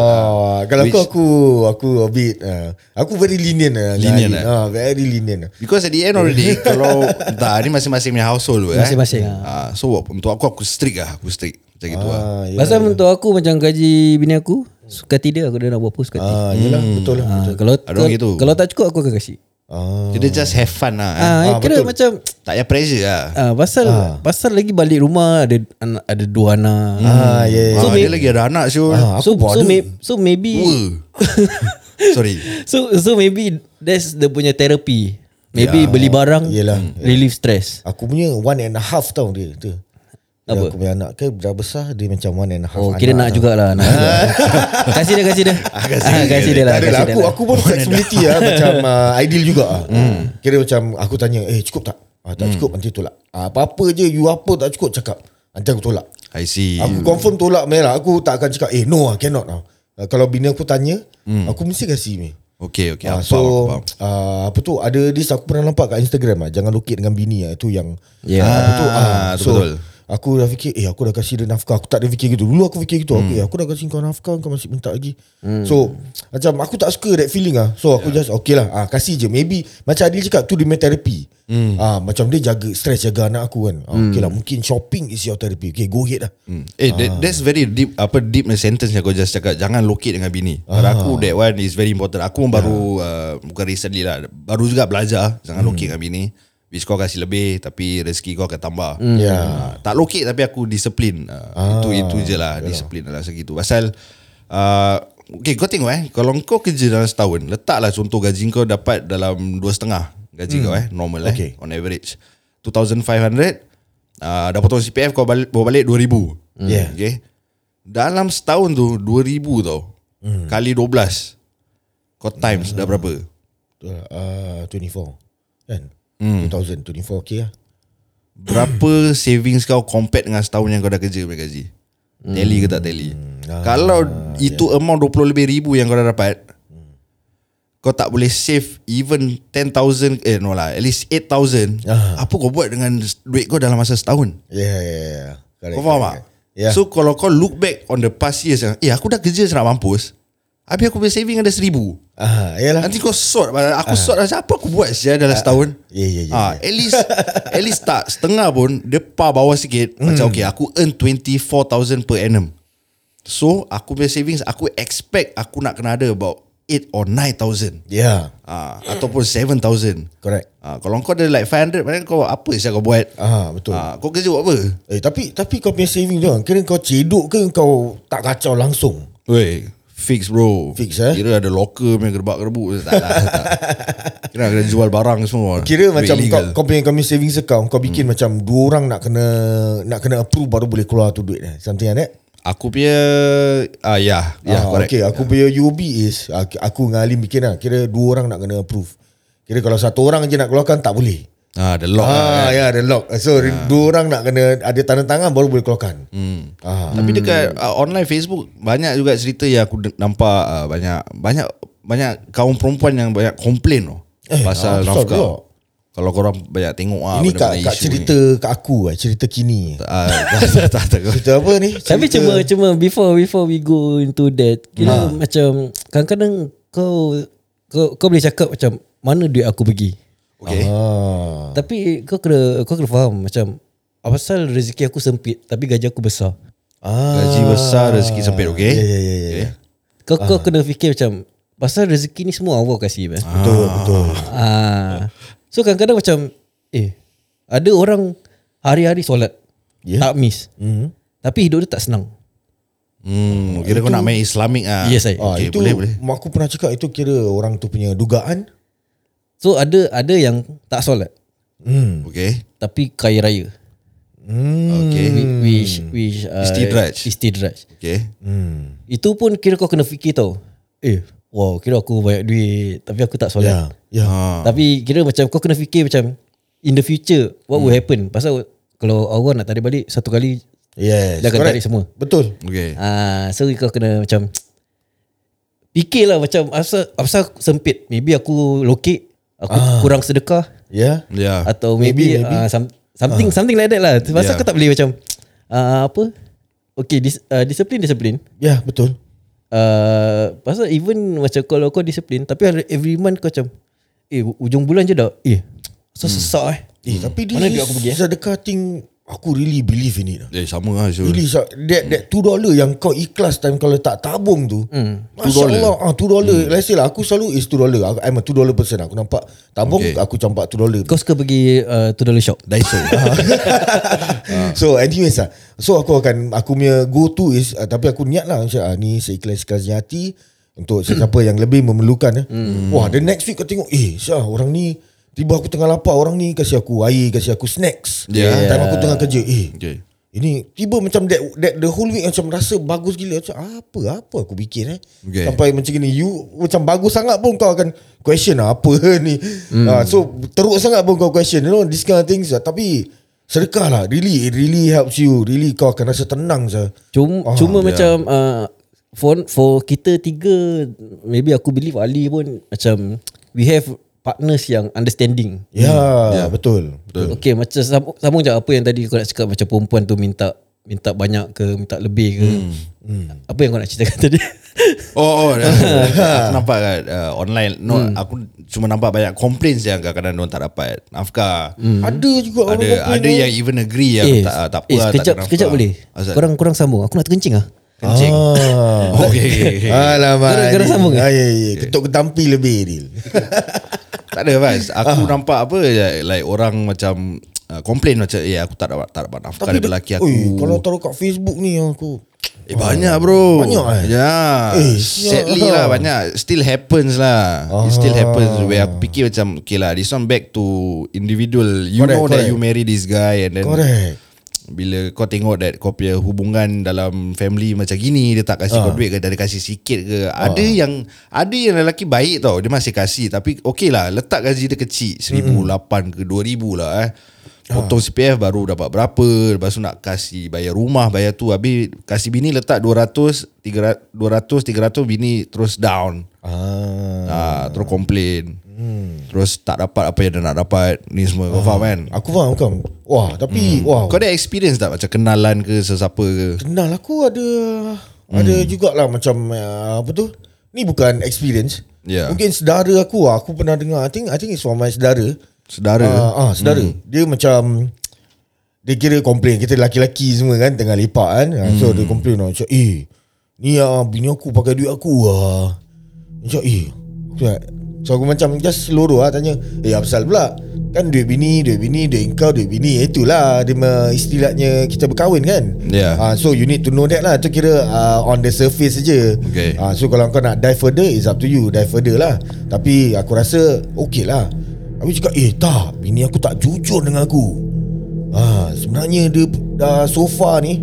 [SPEAKER 3] Oh, kalau
[SPEAKER 4] Which-
[SPEAKER 3] aku aku aku a bit uh, aku very lenient lah. dengan
[SPEAKER 4] Lenient
[SPEAKER 2] eh?
[SPEAKER 4] lah.
[SPEAKER 3] Ali. Ah, very lenient. lah.
[SPEAKER 4] Because at the end already *laughs* Kalau Dah ni masing-masing punya household pun, eh.
[SPEAKER 2] Masing-masing.
[SPEAKER 4] Ah, So untuk aku Aku strict lah Aku strict Macam gitu lah
[SPEAKER 3] Ah, ya.
[SPEAKER 2] Pasal untuk aku macam gaji bini aku suka tidak aku dia nak buat apa suka hati.
[SPEAKER 3] Ah, yalah betul lah.
[SPEAKER 2] Ah, kalau
[SPEAKER 4] ada orang
[SPEAKER 2] kalau-
[SPEAKER 4] gitu.
[SPEAKER 2] kalau tak cukup aku akan kasi.
[SPEAKER 3] Ah.
[SPEAKER 4] Kita just have fun lah eh.
[SPEAKER 2] Ah,
[SPEAKER 3] ah,
[SPEAKER 2] kira
[SPEAKER 3] betul.
[SPEAKER 2] macam
[SPEAKER 4] Tak payah pressure lah
[SPEAKER 2] ah, pasal pasal lagi balik rumah ada anak ada dua anak.
[SPEAKER 3] Ah, ya.
[SPEAKER 4] So
[SPEAKER 3] Yeah.
[SPEAKER 4] ah, dia lagi ada anak Syul ah.
[SPEAKER 3] Ah,
[SPEAKER 2] so
[SPEAKER 3] aku pun
[SPEAKER 2] so,
[SPEAKER 3] ada.
[SPEAKER 2] may, so maybe *laughs*
[SPEAKER 4] Sorry
[SPEAKER 2] so so maybe that's the punya therapy. Maybe beli barang
[SPEAKER 3] Yelah.
[SPEAKER 2] relieve stress.
[SPEAKER 3] Aku punya one and a half tau dia tu.
[SPEAKER 2] Apa?
[SPEAKER 3] Dia Ya, Aku lah, punya anak ke dah besar dia macam one and a half.
[SPEAKER 2] Oh, kira nak
[SPEAKER 3] anak
[SPEAKER 2] jugalah nak. juga. kasih dia kasih dia. Ah,
[SPEAKER 4] kasih dia.
[SPEAKER 2] kasih dia lah.
[SPEAKER 3] Tak
[SPEAKER 2] kasih dia
[SPEAKER 3] adalah aku
[SPEAKER 2] lah.
[SPEAKER 3] aku pun flexibility lah macam uh, ideal juga ah.
[SPEAKER 2] Hmm.
[SPEAKER 3] Kira macam aku tanya, "Eh, cukup tak?" Ah, tak cukup nanti tolak. Ah, apa-apa je you apa tak cukup cakap. Nanti aku tolak.
[SPEAKER 4] I see
[SPEAKER 3] Aku confirm tolak merah. Aku tak akan cakap, "Eh, no, ah, cannot." Ah. Ah, Kalau bini aku tanya, aku mesti kasi ni.
[SPEAKER 4] Hmm. Okay okay aku
[SPEAKER 3] Ah, so
[SPEAKER 4] faham, aku faham.
[SPEAKER 3] ah, apa tu ada this aku pernah nampak kat Instagram ah jangan lokit dengan bini ah itu yang
[SPEAKER 2] Ya.
[SPEAKER 3] ah, apa tu
[SPEAKER 4] Ah,
[SPEAKER 3] ah
[SPEAKER 4] tu
[SPEAKER 3] so
[SPEAKER 4] betul.
[SPEAKER 3] aku dah fikir eh aku dah kasih dia nafkah aku tak ada fikir gitu dulu aku fikir gitu
[SPEAKER 4] Hmm.
[SPEAKER 3] aku eh, aku dah kasih kau nafkah kau masih minta lagi so macam aku tak suka that feeling ah so aku just okay lah ah kasih je maybe macam Adil cakap tu dia punya therapy
[SPEAKER 4] Hmm.
[SPEAKER 3] ah macam dia jaga stress jaga anak aku kan ah, okay lah mungkin shopping is your therapy okay go ahead lah
[SPEAKER 4] Hmm. Eh that, that's very deep Apa deep punya sentence Yang kau just cakap Jangan locate dengan bini Pada aku that one Is very important Aku pun baru uh, Bukan recently lah Baru juga belajar Jangan locate dengan bini Which kau kasih lebih Tapi rezeki kau akan tambah
[SPEAKER 3] Ya.
[SPEAKER 4] Ah, Tak locate tapi aku disiplin ah, Itu itu je lah Disiplin dalam segitu Pasal uh, Okay kau tengok eh Kalau kau kerja dalam setahun Letaklah contoh gaji kau dapat dalam Dua setengah Gaji kau eh Normal
[SPEAKER 3] Okay.
[SPEAKER 4] ah, eh On average 2,500 uh, Dah potong CPF kau balik, bawa balik 2,000
[SPEAKER 3] Yeah.
[SPEAKER 4] Okay Dalam setahun tu 2000 tau hmm. Kali 12 Kau times dah berapa
[SPEAKER 3] Uh, 24 Kan
[SPEAKER 4] Hmm.
[SPEAKER 3] 2024 okay lah
[SPEAKER 4] Berapa savings kau Compared dengan setahun yang kau dah kerja punya gaji
[SPEAKER 3] Hmm.
[SPEAKER 4] Tally ke tak tally Kalau
[SPEAKER 3] ya.
[SPEAKER 4] itu amount 20 lebih ribu Yang kau dah dapat
[SPEAKER 3] Hmm.
[SPEAKER 4] Kau tak boleh save Even 10,000 Eh no lah At least 8,000
[SPEAKER 3] Ah.
[SPEAKER 4] Apa kau buat dengan Duit kau dalam masa setahun
[SPEAKER 3] Yeah yeah yeah Correct,
[SPEAKER 4] Kau faham tak?
[SPEAKER 3] correct, Ya. correct. Yeah.
[SPEAKER 4] So kalau kau look back on the past years Eh aku dah kerja senak mampus Habis aku punya saving ada seribu
[SPEAKER 3] ah, Yalah
[SPEAKER 4] Nanti kau sort Aku sort rasa apa aku buat saja dalam setahun
[SPEAKER 3] Ya, ya, ya,
[SPEAKER 4] Ah,
[SPEAKER 3] ya.
[SPEAKER 4] At least At least tak Setengah pun Dia par bawah sikit Macam okay Aku earn 24,000 per annum So aku punya savings Aku expect Aku nak kena ada about 8 or 9,000
[SPEAKER 3] Yeah
[SPEAKER 4] ah, Ataupun 7,000
[SPEAKER 3] Correct
[SPEAKER 4] ah, Kalau kau ada like 500 Mana kau apa saja kau buat
[SPEAKER 3] Ah betul.
[SPEAKER 4] ah, Kau kerja buat apa
[SPEAKER 3] Eh tapi tapi kau punya saving tu kan, kira kau cedok ke kau tak kacau langsung.
[SPEAKER 4] Weh Fix bro
[SPEAKER 3] Fix, eh?
[SPEAKER 4] Kira ada locker punya gerbak gerbu Tak lah *laughs* tak. Kira kena jual barang semua
[SPEAKER 3] Kira macam
[SPEAKER 4] Illegal.
[SPEAKER 3] kau, kau punya kau punya savings account kau bikin hmm. macam dua orang nak kena nak kena approve baru boleh keluar tu duit eh. Something like that.
[SPEAKER 4] Aku punya ah ya, ya
[SPEAKER 3] ah,
[SPEAKER 4] correct.
[SPEAKER 3] okay, aku punya UOB is ah, ki- aku dengan Alim bikin lah. Kira dua orang nak kena approve. Kira kalau satu orang je nak keluarkan tak boleh.
[SPEAKER 4] Ah, the lock. lah,
[SPEAKER 3] Ah,
[SPEAKER 4] kan.
[SPEAKER 3] ya, ada lock. So dua orang nak kena ada tanda tangan baru boleh keluarkan. Hmm. Ah.
[SPEAKER 4] Tapi dekat uh, online Facebook banyak juga cerita yang aku de- nampak uh, banyak banyak banyak kaum perempuan yang banyak komplain tu eh,
[SPEAKER 3] Eh,
[SPEAKER 4] pasal ah,
[SPEAKER 3] ah, besar pula.
[SPEAKER 4] nafkah. Kalau korang banyak tengok ah
[SPEAKER 3] Ini
[SPEAKER 4] benda-benda
[SPEAKER 3] kak, kak
[SPEAKER 4] isu
[SPEAKER 3] cerita
[SPEAKER 4] ni.
[SPEAKER 3] kat aku eh, cerita kini.
[SPEAKER 4] Ah, *laughs* tak tak tak. tak.
[SPEAKER 3] Cerita apa ni?
[SPEAKER 2] Tapi
[SPEAKER 3] Cerita-
[SPEAKER 2] cuma cuma before before we go into that, kira ha. macam kadang-kadang kau kau kau boleh cakap macam mana duit aku pergi.
[SPEAKER 4] Okay.
[SPEAKER 3] Ah.
[SPEAKER 2] Tapi kau kena kau kena faham macam apa pasal rezeki aku sempit tapi gaji aku besar.
[SPEAKER 3] Ah.
[SPEAKER 4] Gaji besar rezeki sempit okay?
[SPEAKER 3] Ya, ya, ya, ya.
[SPEAKER 2] Kau
[SPEAKER 4] Okay.
[SPEAKER 2] kau kena fikir macam pasal rezeki ni semua Allah kasih best.
[SPEAKER 3] Betul, betul.
[SPEAKER 2] Ah. So kadang-kadang macam eh ada orang hari-hari solat.
[SPEAKER 3] Ya.
[SPEAKER 2] Yeah. Tak miss.
[SPEAKER 3] Hmm.
[SPEAKER 2] Tapi hidup dia tak senang.
[SPEAKER 4] Hmm, kira kau nak main Islamic ah.
[SPEAKER 2] Yes, I.
[SPEAKER 3] Ah,
[SPEAKER 4] Okay,
[SPEAKER 3] itu
[SPEAKER 4] boleh boleh.
[SPEAKER 3] mak aku pernah cakap itu kira orang tu punya dugaan.
[SPEAKER 2] So ada ada yang tak solat
[SPEAKER 3] Hmm.
[SPEAKER 4] Okay.
[SPEAKER 2] tapi kaya raya.
[SPEAKER 3] Hmm.
[SPEAKER 4] Okay.
[SPEAKER 2] Hmm. Which which uh,
[SPEAKER 4] Istidraj.
[SPEAKER 2] Istidraj.
[SPEAKER 4] Okay.
[SPEAKER 3] Hmm.
[SPEAKER 2] Itu pun kira kau kena fikir tau. Eh, wow, kira aku banyak duit tapi aku tak solat. Yeah.
[SPEAKER 3] Ya, ya.
[SPEAKER 4] Ah.
[SPEAKER 2] Tapi kira macam kau kena fikir macam in the future what hmm. will happen. Pasal kalau Allah nak tarik balik satu kali
[SPEAKER 3] Yes.
[SPEAKER 2] Dia akan
[SPEAKER 3] correct.
[SPEAKER 2] tarik semua.
[SPEAKER 3] Betul.
[SPEAKER 4] Okay.
[SPEAKER 2] ah uh, so kau kena macam fikirlah macam apa apa sempit. Maybe aku lokek, aku ah. kurang sedekah
[SPEAKER 3] Ya.
[SPEAKER 4] Ya.
[SPEAKER 2] atau
[SPEAKER 3] Maybe,
[SPEAKER 2] maybe, maybe,
[SPEAKER 3] maybe. Ah.
[SPEAKER 2] Uh, some, something uh. something like that lah. Pasal
[SPEAKER 4] Yeah.
[SPEAKER 2] yeah. kau tak boleh macam uh, apa? Okay, dis, uh, disiplin disiplin.
[SPEAKER 3] Ya, betul.
[SPEAKER 2] Uh, pasal even macam kalau kau disiplin tapi hari- every month kau macam eh u- ujung bulan je dah eh so sesak eh.
[SPEAKER 3] Eh,
[SPEAKER 4] Hmm.
[SPEAKER 3] tapi dia
[SPEAKER 2] Mana duit aku pergi, eh?
[SPEAKER 3] sedekah thing aku really believe in it. lah.
[SPEAKER 4] Eh sama lah Syul.
[SPEAKER 3] Really, so, that, that two dollar yang kau ikhlas time kalau tak tabung tu. Hmm. Masya Allah. Ah, two dollar. Hmm. Let's say lah, aku selalu is two dollar. Aku- I'm a two dollar person. Aku nampak tabung,
[SPEAKER 4] Okay.
[SPEAKER 3] okay. aku campak two dollar.
[SPEAKER 2] Kau suka pergi uh, to dollar shop.
[SPEAKER 4] Daiso.
[SPEAKER 3] Ah.
[SPEAKER 4] Ah.
[SPEAKER 3] So anyways lah So aku akan Aku punya go to is uh, Tapi aku niat lah Insya Allah ni seikhlas-ikhlasnya hati Untuk sesiapa yang lebih memerlukan eh.
[SPEAKER 4] Hmm.
[SPEAKER 3] Wah the next week kau tengok Eh Syah orang ni Tiba aku tengah lapar Orang ni kasih aku air Kasih aku snacks
[SPEAKER 4] Ya. Yeah.
[SPEAKER 3] Time aku tengah kerja Eh
[SPEAKER 4] Okay.
[SPEAKER 3] ini tiba macam that, that the whole week macam rasa bagus gila macam apa apa aku bikin eh
[SPEAKER 4] Okay.
[SPEAKER 3] sampai macam gini you macam bagus sangat pun kau akan question lah, apa *laughs* ni
[SPEAKER 4] Hmm.
[SPEAKER 3] mm. uh, so teruk sangat pun kau question you know this kind of things lah. tapi sedekah lah really it really helps you really kau akan rasa tenang sah
[SPEAKER 2] Cuma
[SPEAKER 4] Hmm.
[SPEAKER 2] oh,
[SPEAKER 3] Ah,
[SPEAKER 4] ya.
[SPEAKER 2] cuma yeah. macam uh, for for kita tiga maybe aku believe Ali pun macam we have partners yang understanding.
[SPEAKER 3] ya yeah, yeah. betul betul
[SPEAKER 2] Okay macam sam- sambung je apa yang tadi kau nak cakap macam perempuan tu minta minta banyak ke minta lebih ke. Hmm. Apa yang kau nak ceritakan tadi?
[SPEAKER 3] *laughs*
[SPEAKER 4] Oh, oh aku nampak kat uh, online. No, hmm. aku cuma nampak banyak complaints yang kadang-kadang diorang tak dapat nafkah. Hmm.
[SPEAKER 3] ada juga orang
[SPEAKER 4] Ada
[SPEAKER 3] complain,
[SPEAKER 4] ada
[SPEAKER 3] eh.
[SPEAKER 4] yang even agree yang eh, tak ah, tak apa
[SPEAKER 2] eh,
[SPEAKER 4] lah, tak
[SPEAKER 2] sekejap,
[SPEAKER 4] ada
[SPEAKER 2] sekejap
[SPEAKER 4] nafkah.
[SPEAKER 2] boleh.
[SPEAKER 4] Asal
[SPEAKER 2] Korang kurang sambung. Aku nak terkencing ah.
[SPEAKER 4] kencing.
[SPEAKER 3] ah.
[SPEAKER 4] *laughs* Oh. Okay, okay, okay.
[SPEAKER 3] Alamak
[SPEAKER 2] Gerak- gerak
[SPEAKER 3] ni.
[SPEAKER 2] sambung
[SPEAKER 4] eh?
[SPEAKER 2] ke?
[SPEAKER 3] ah, ya, ya. Ketuk ketampi lebih Dil
[SPEAKER 4] tak ada Faz.
[SPEAKER 3] Ah.
[SPEAKER 4] Aku nampak apa like, like orang macam uh, complain macam eh aku tak dapat tak dapat nafkah
[SPEAKER 3] Tapi
[SPEAKER 4] daripada
[SPEAKER 3] dia-
[SPEAKER 4] lelaki aku.
[SPEAKER 3] Ui, Kalau taruh kat Facebook ni aku
[SPEAKER 4] eh banyak bro.
[SPEAKER 3] Banyak, eh?
[SPEAKER 4] Ya.
[SPEAKER 3] Eh,
[SPEAKER 4] Sadly
[SPEAKER 3] siap.
[SPEAKER 4] lah banyak still happens lah. It still
[SPEAKER 3] Ah.
[SPEAKER 4] happens where aku fikir macam okay lah this one back to individual. You
[SPEAKER 3] Correct,
[SPEAKER 4] know that
[SPEAKER 3] correct.
[SPEAKER 4] Kan. you marry this guy and then
[SPEAKER 3] Correct
[SPEAKER 4] bila kau tengok that kau punya hubungan dalam family macam gini dia tak kasih kau duit ke dia ada kasih sikit ke ada yang ada yang lelaki baik tau dia masih kasih tapi okey lah letak gaji dia kecil 1008 ke 2000 lah eh potong CPF baru dapat berapa lepas tu nak kasih bayar rumah bayar tu habis kasih bini letak 200 300 200 300 bini terus down
[SPEAKER 3] Ah.
[SPEAKER 4] ah, terus complain terus tak dapat apa yang dia nak dapat ni semua kau faham kan
[SPEAKER 3] Aku faham kau. Wah, tapi hmm. wow.
[SPEAKER 4] Kau ada experience tak macam kenalan ke sesiapa ke?
[SPEAKER 3] Kenal lah aku ada ada jugalah macam uh, apa tu? Ni bukan experience.
[SPEAKER 4] Ya.
[SPEAKER 3] Mungkin saudara aku lah, aku pernah dengar. I think I think it's from my saudara.
[SPEAKER 4] Saudara?
[SPEAKER 3] Ah, ah saudara. Hmm. Dia macam dia kira complain kita lelaki-lelaki semua kan tengah lepak kan. Hmm. So dia complain lah, macam eh ni ah bini aku pakai duit aku ah. Macam eh aku tak- So aku macam just seluruh lah tanya Eh apa pasal pula Kan duit bini Duit bini Duit kau Duit bini Itulah dia me- istilahnya Kita berkahwin kan
[SPEAKER 4] Yeah.
[SPEAKER 3] Ah, So you need to know that lah Tu kira uh, on the surface saja.
[SPEAKER 4] Okay.
[SPEAKER 3] Ah, So kalau kau nak dive further It's up to you Dive further lah Tapi aku rasa Okay lah Aku cakap Eh tak Bini aku tak jujur dengan aku Ah, Sebenarnya dia dah so far ni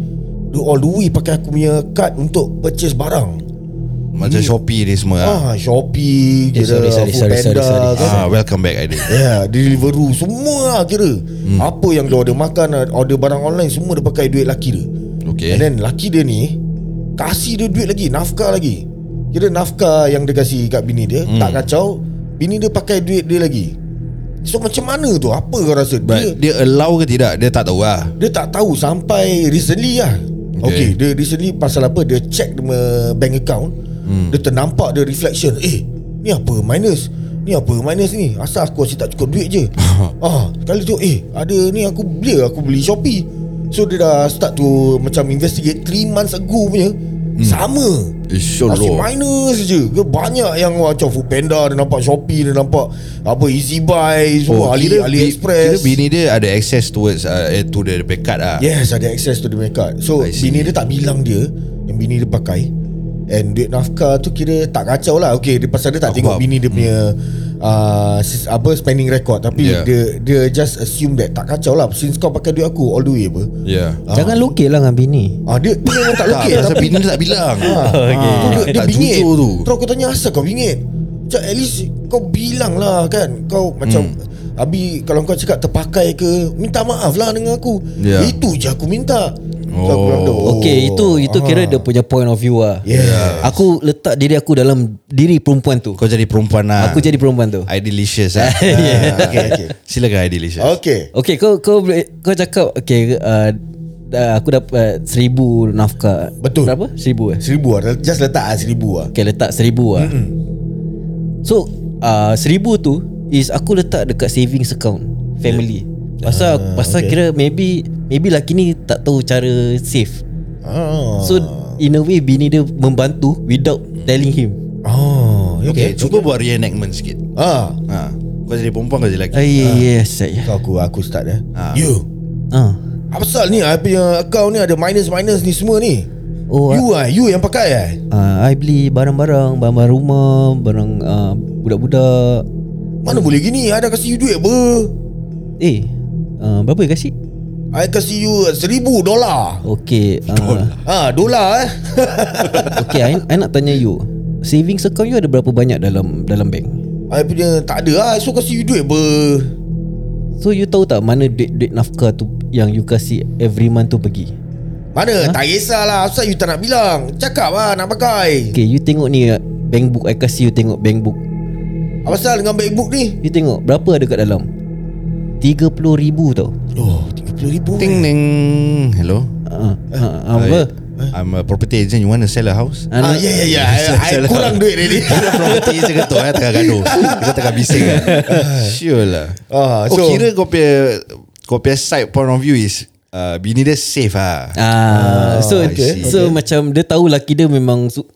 [SPEAKER 3] Dia all the way pakai aku punya card Untuk purchase barang
[SPEAKER 4] Macam Shopee ni semua. Ah,
[SPEAKER 3] Ah, Shopee
[SPEAKER 2] Eh,
[SPEAKER 3] kira
[SPEAKER 2] sorry, sorry, sorry, sorry,
[SPEAKER 3] Foodpanda
[SPEAKER 2] sorry.
[SPEAKER 3] kan.
[SPEAKER 4] ah welcome back Aidil.
[SPEAKER 3] Ya, yeah, Deliveroo semua lah kira. Hmm. Apa yang dia order makan, order barang online semua dia pakai duit laki dia.
[SPEAKER 4] Okay.
[SPEAKER 3] And then laki dia ni kasih dia duit lagi, nafkah lagi. Kira nafkah yang dia kasih kat bini dia hmm. tak kacau, bini dia pakai duit dia lagi. So macam mana tu? Apa kau rasa? dia
[SPEAKER 4] But dia allow ke tidak? Dia tak tahu lah.
[SPEAKER 3] dia tak tahu sampai recently lah
[SPEAKER 4] Okay.
[SPEAKER 3] Okay, okay dia recently pasal apa Dia check dia punya bank account hmm. Dia ternampak dia reflection Eh ni apa minus Ni apa minus ni Asal aku asyik tak cukup
[SPEAKER 4] *laughs*
[SPEAKER 3] duit je ah, Kali tu eh ada ni aku beli Aku beli Shopee So dia dah start to Macam investigate 3 months ago punya hmm. Sama Asyik
[SPEAKER 4] Insyaallah.
[SPEAKER 3] minus je Dia Banyak yang macam Foodpanda Dia nampak Shopee Dia nampak Apa Easy Buy Semua oh, Ali,
[SPEAKER 4] kira bi- Kira
[SPEAKER 3] AliExpress
[SPEAKER 4] bini dia ada access towards uh, eh, to the pay card lah.
[SPEAKER 3] Yes ada access to the main card So
[SPEAKER 4] I see.
[SPEAKER 3] bini dia tak bilang dia Yang bini dia pakai And duit nafkah tu kira tak kacau lah Okay dia pasal dia tak
[SPEAKER 4] Aku
[SPEAKER 3] tengok
[SPEAKER 4] faham. Hmm.
[SPEAKER 3] bini dia punya uh, sis- Apa spending record Tapi
[SPEAKER 4] Yeah.
[SPEAKER 3] yeah. dia dia just assume that Tak kacau lah Since kau pakai duit aku all the way apa
[SPEAKER 4] Yeah.
[SPEAKER 2] Jangan lokek lah dengan bini
[SPEAKER 3] Ah dia dia memang tak lah.
[SPEAKER 4] Okay, Ya.
[SPEAKER 3] lokek
[SPEAKER 4] pasal
[SPEAKER 3] tapi
[SPEAKER 4] bini dia *laughs* tak bilang.
[SPEAKER 3] Ah. okay. dia,
[SPEAKER 4] Ah,
[SPEAKER 3] dia
[SPEAKER 4] Eh, tak
[SPEAKER 3] bingit
[SPEAKER 4] jujur tu.
[SPEAKER 3] Terus aku tanya asal kau bingit Macam at least kau bilang lah kan Kau macam
[SPEAKER 4] Hmm.
[SPEAKER 3] Abi kalau kau cakap terpakai ke Minta maaf lah dengan aku
[SPEAKER 4] Ya.
[SPEAKER 3] Itu je aku minta So,
[SPEAKER 4] Oh.
[SPEAKER 3] bilang dia,
[SPEAKER 2] Okay itu itu
[SPEAKER 3] ah.
[SPEAKER 2] kira dia punya point of view lah
[SPEAKER 3] Yes.
[SPEAKER 2] Aku letak diri aku dalam diri perempuan tu
[SPEAKER 4] Kau jadi perempuan lah.
[SPEAKER 2] Aku jadi perempuan tu
[SPEAKER 4] Idealicious
[SPEAKER 3] *laughs*
[SPEAKER 4] lah.
[SPEAKER 2] *laughs*
[SPEAKER 3] Ah, okay, okay.
[SPEAKER 4] Silakan Idealicious.
[SPEAKER 3] Okay.
[SPEAKER 2] Okay kau kau boleh- kau cakap Okay uh, uh, Aku dapat seribu nafkah
[SPEAKER 3] Betul.
[SPEAKER 2] Berapa? Seribu eh
[SPEAKER 3] Seribu lah. Just letak lah seribu lah.
[SPEAKER 2] Okay letak seribu lah Mm-mm. So uh, Seribu tu Is aku letak dekat savings account Family Pasal
[SPEAKER 3] Ah,
[SPEAKER 2] pasal
[SPEAKER 3] okay.
[SPEAKER 2] kira maybe Maybe laki ni tak tahu cara save
[SPEAKER 3] Ah.
[SPEAKER 2] So in a way bini dia membantu Without telling him
[SPEAKER 3] Ah.
[SPEAKER 4] Okay,
[SPEAKER 3] Okay.
[SPEAKER 4] cuba buat reenactment sikit.
[SPEAKER 3] Ah.
[SPEAKER 4] Ha. Kau jadi perempuan kau jadi lelaki.
[SPEAKER 3] Eh.
[SPEAKER 2] Ay, yes saya.
[SPEAKER 3] Kau aku aku start eh.
[SPEAKER 4] Ah.
[SPEAKER 3] You.
[SPEAKER 2] Ah.
[SPEAKER 3] Apa pasal ni? Apa yang account ni ada minus-minus ni semua ni?
[SPEAKER 2] Oh,
[SPEAKER 3] you ah, you yang pakai eh?
[SPEAKER 2] Uh, I beli barang-barang Barang-barang rumah Barang uh, budak-budak
[SPEAKER 3] Mana boleh gini? Ada kasih you duit apa?
[SPEAKER 2] Eh uh, Berapa dia kasi?
[SPEAKER 3] I kasih you seribu dolar.
[SPEAKER 2] Okay uh,
[SPEAKER 3] Ah, dolar eh.
[SPEAKER 2] Okay uh, I, I nak tanya you Savings account you ada berapa banyak dalam dalam bank?
[SPEAKER 3] I punya tak ada lah. So kasih you duit apa?
[SPEAKER 2] So you tahu tak mana duit-duit nafkah tu Yang you kasi every month tu pergi?
[SPEAKER 3] Mana? Tak kisahlah. Asal you tak nak bilang? Cakap lah nak pakai.
[SPEAKER 2] Okay you tengok ni uh, Bank book I kasi you tengok bank book
[SPEAKER 3] Apa pasal dengan backbook ni?
[SPEAKER 2] You tengok berapa ada kat dalam? 30,000 tau
[SPEAKER 3] Oh, 30 ribu.
[SPEAKER 4] Ting ting. Hello. Eh,
[SPEAKER 2] uh, uh, uh, Apa?
[SPEAKER 4] I'm a property agent You want to sell a house
[SPEAKER 2] Ah,
[SPEAKER 3] Ah,
[SPEAKER 2] no-
[SPEAKER 3] ya ya ya. I, I kurang duit
[SPEAKER 4] *laughs*
[SPEAKER 3] ni.
[SPEAKER 4] Orang property agent ketuk eh, Tengah gaduh Kita tengah bising kan Sure lah
[SPEAKER 3] Ah,
[SPEAKER 4] Oh
[SPEAKER 3] so-
[SPEAKER 4] kira kau punya Kau punya side point of view is uh, Bini dia safe lah
[SPEAKER 2] Ah, so
[SPEAKER 4] I see.
[SPEAKER 2] so macam dia tahu laki dia memang su-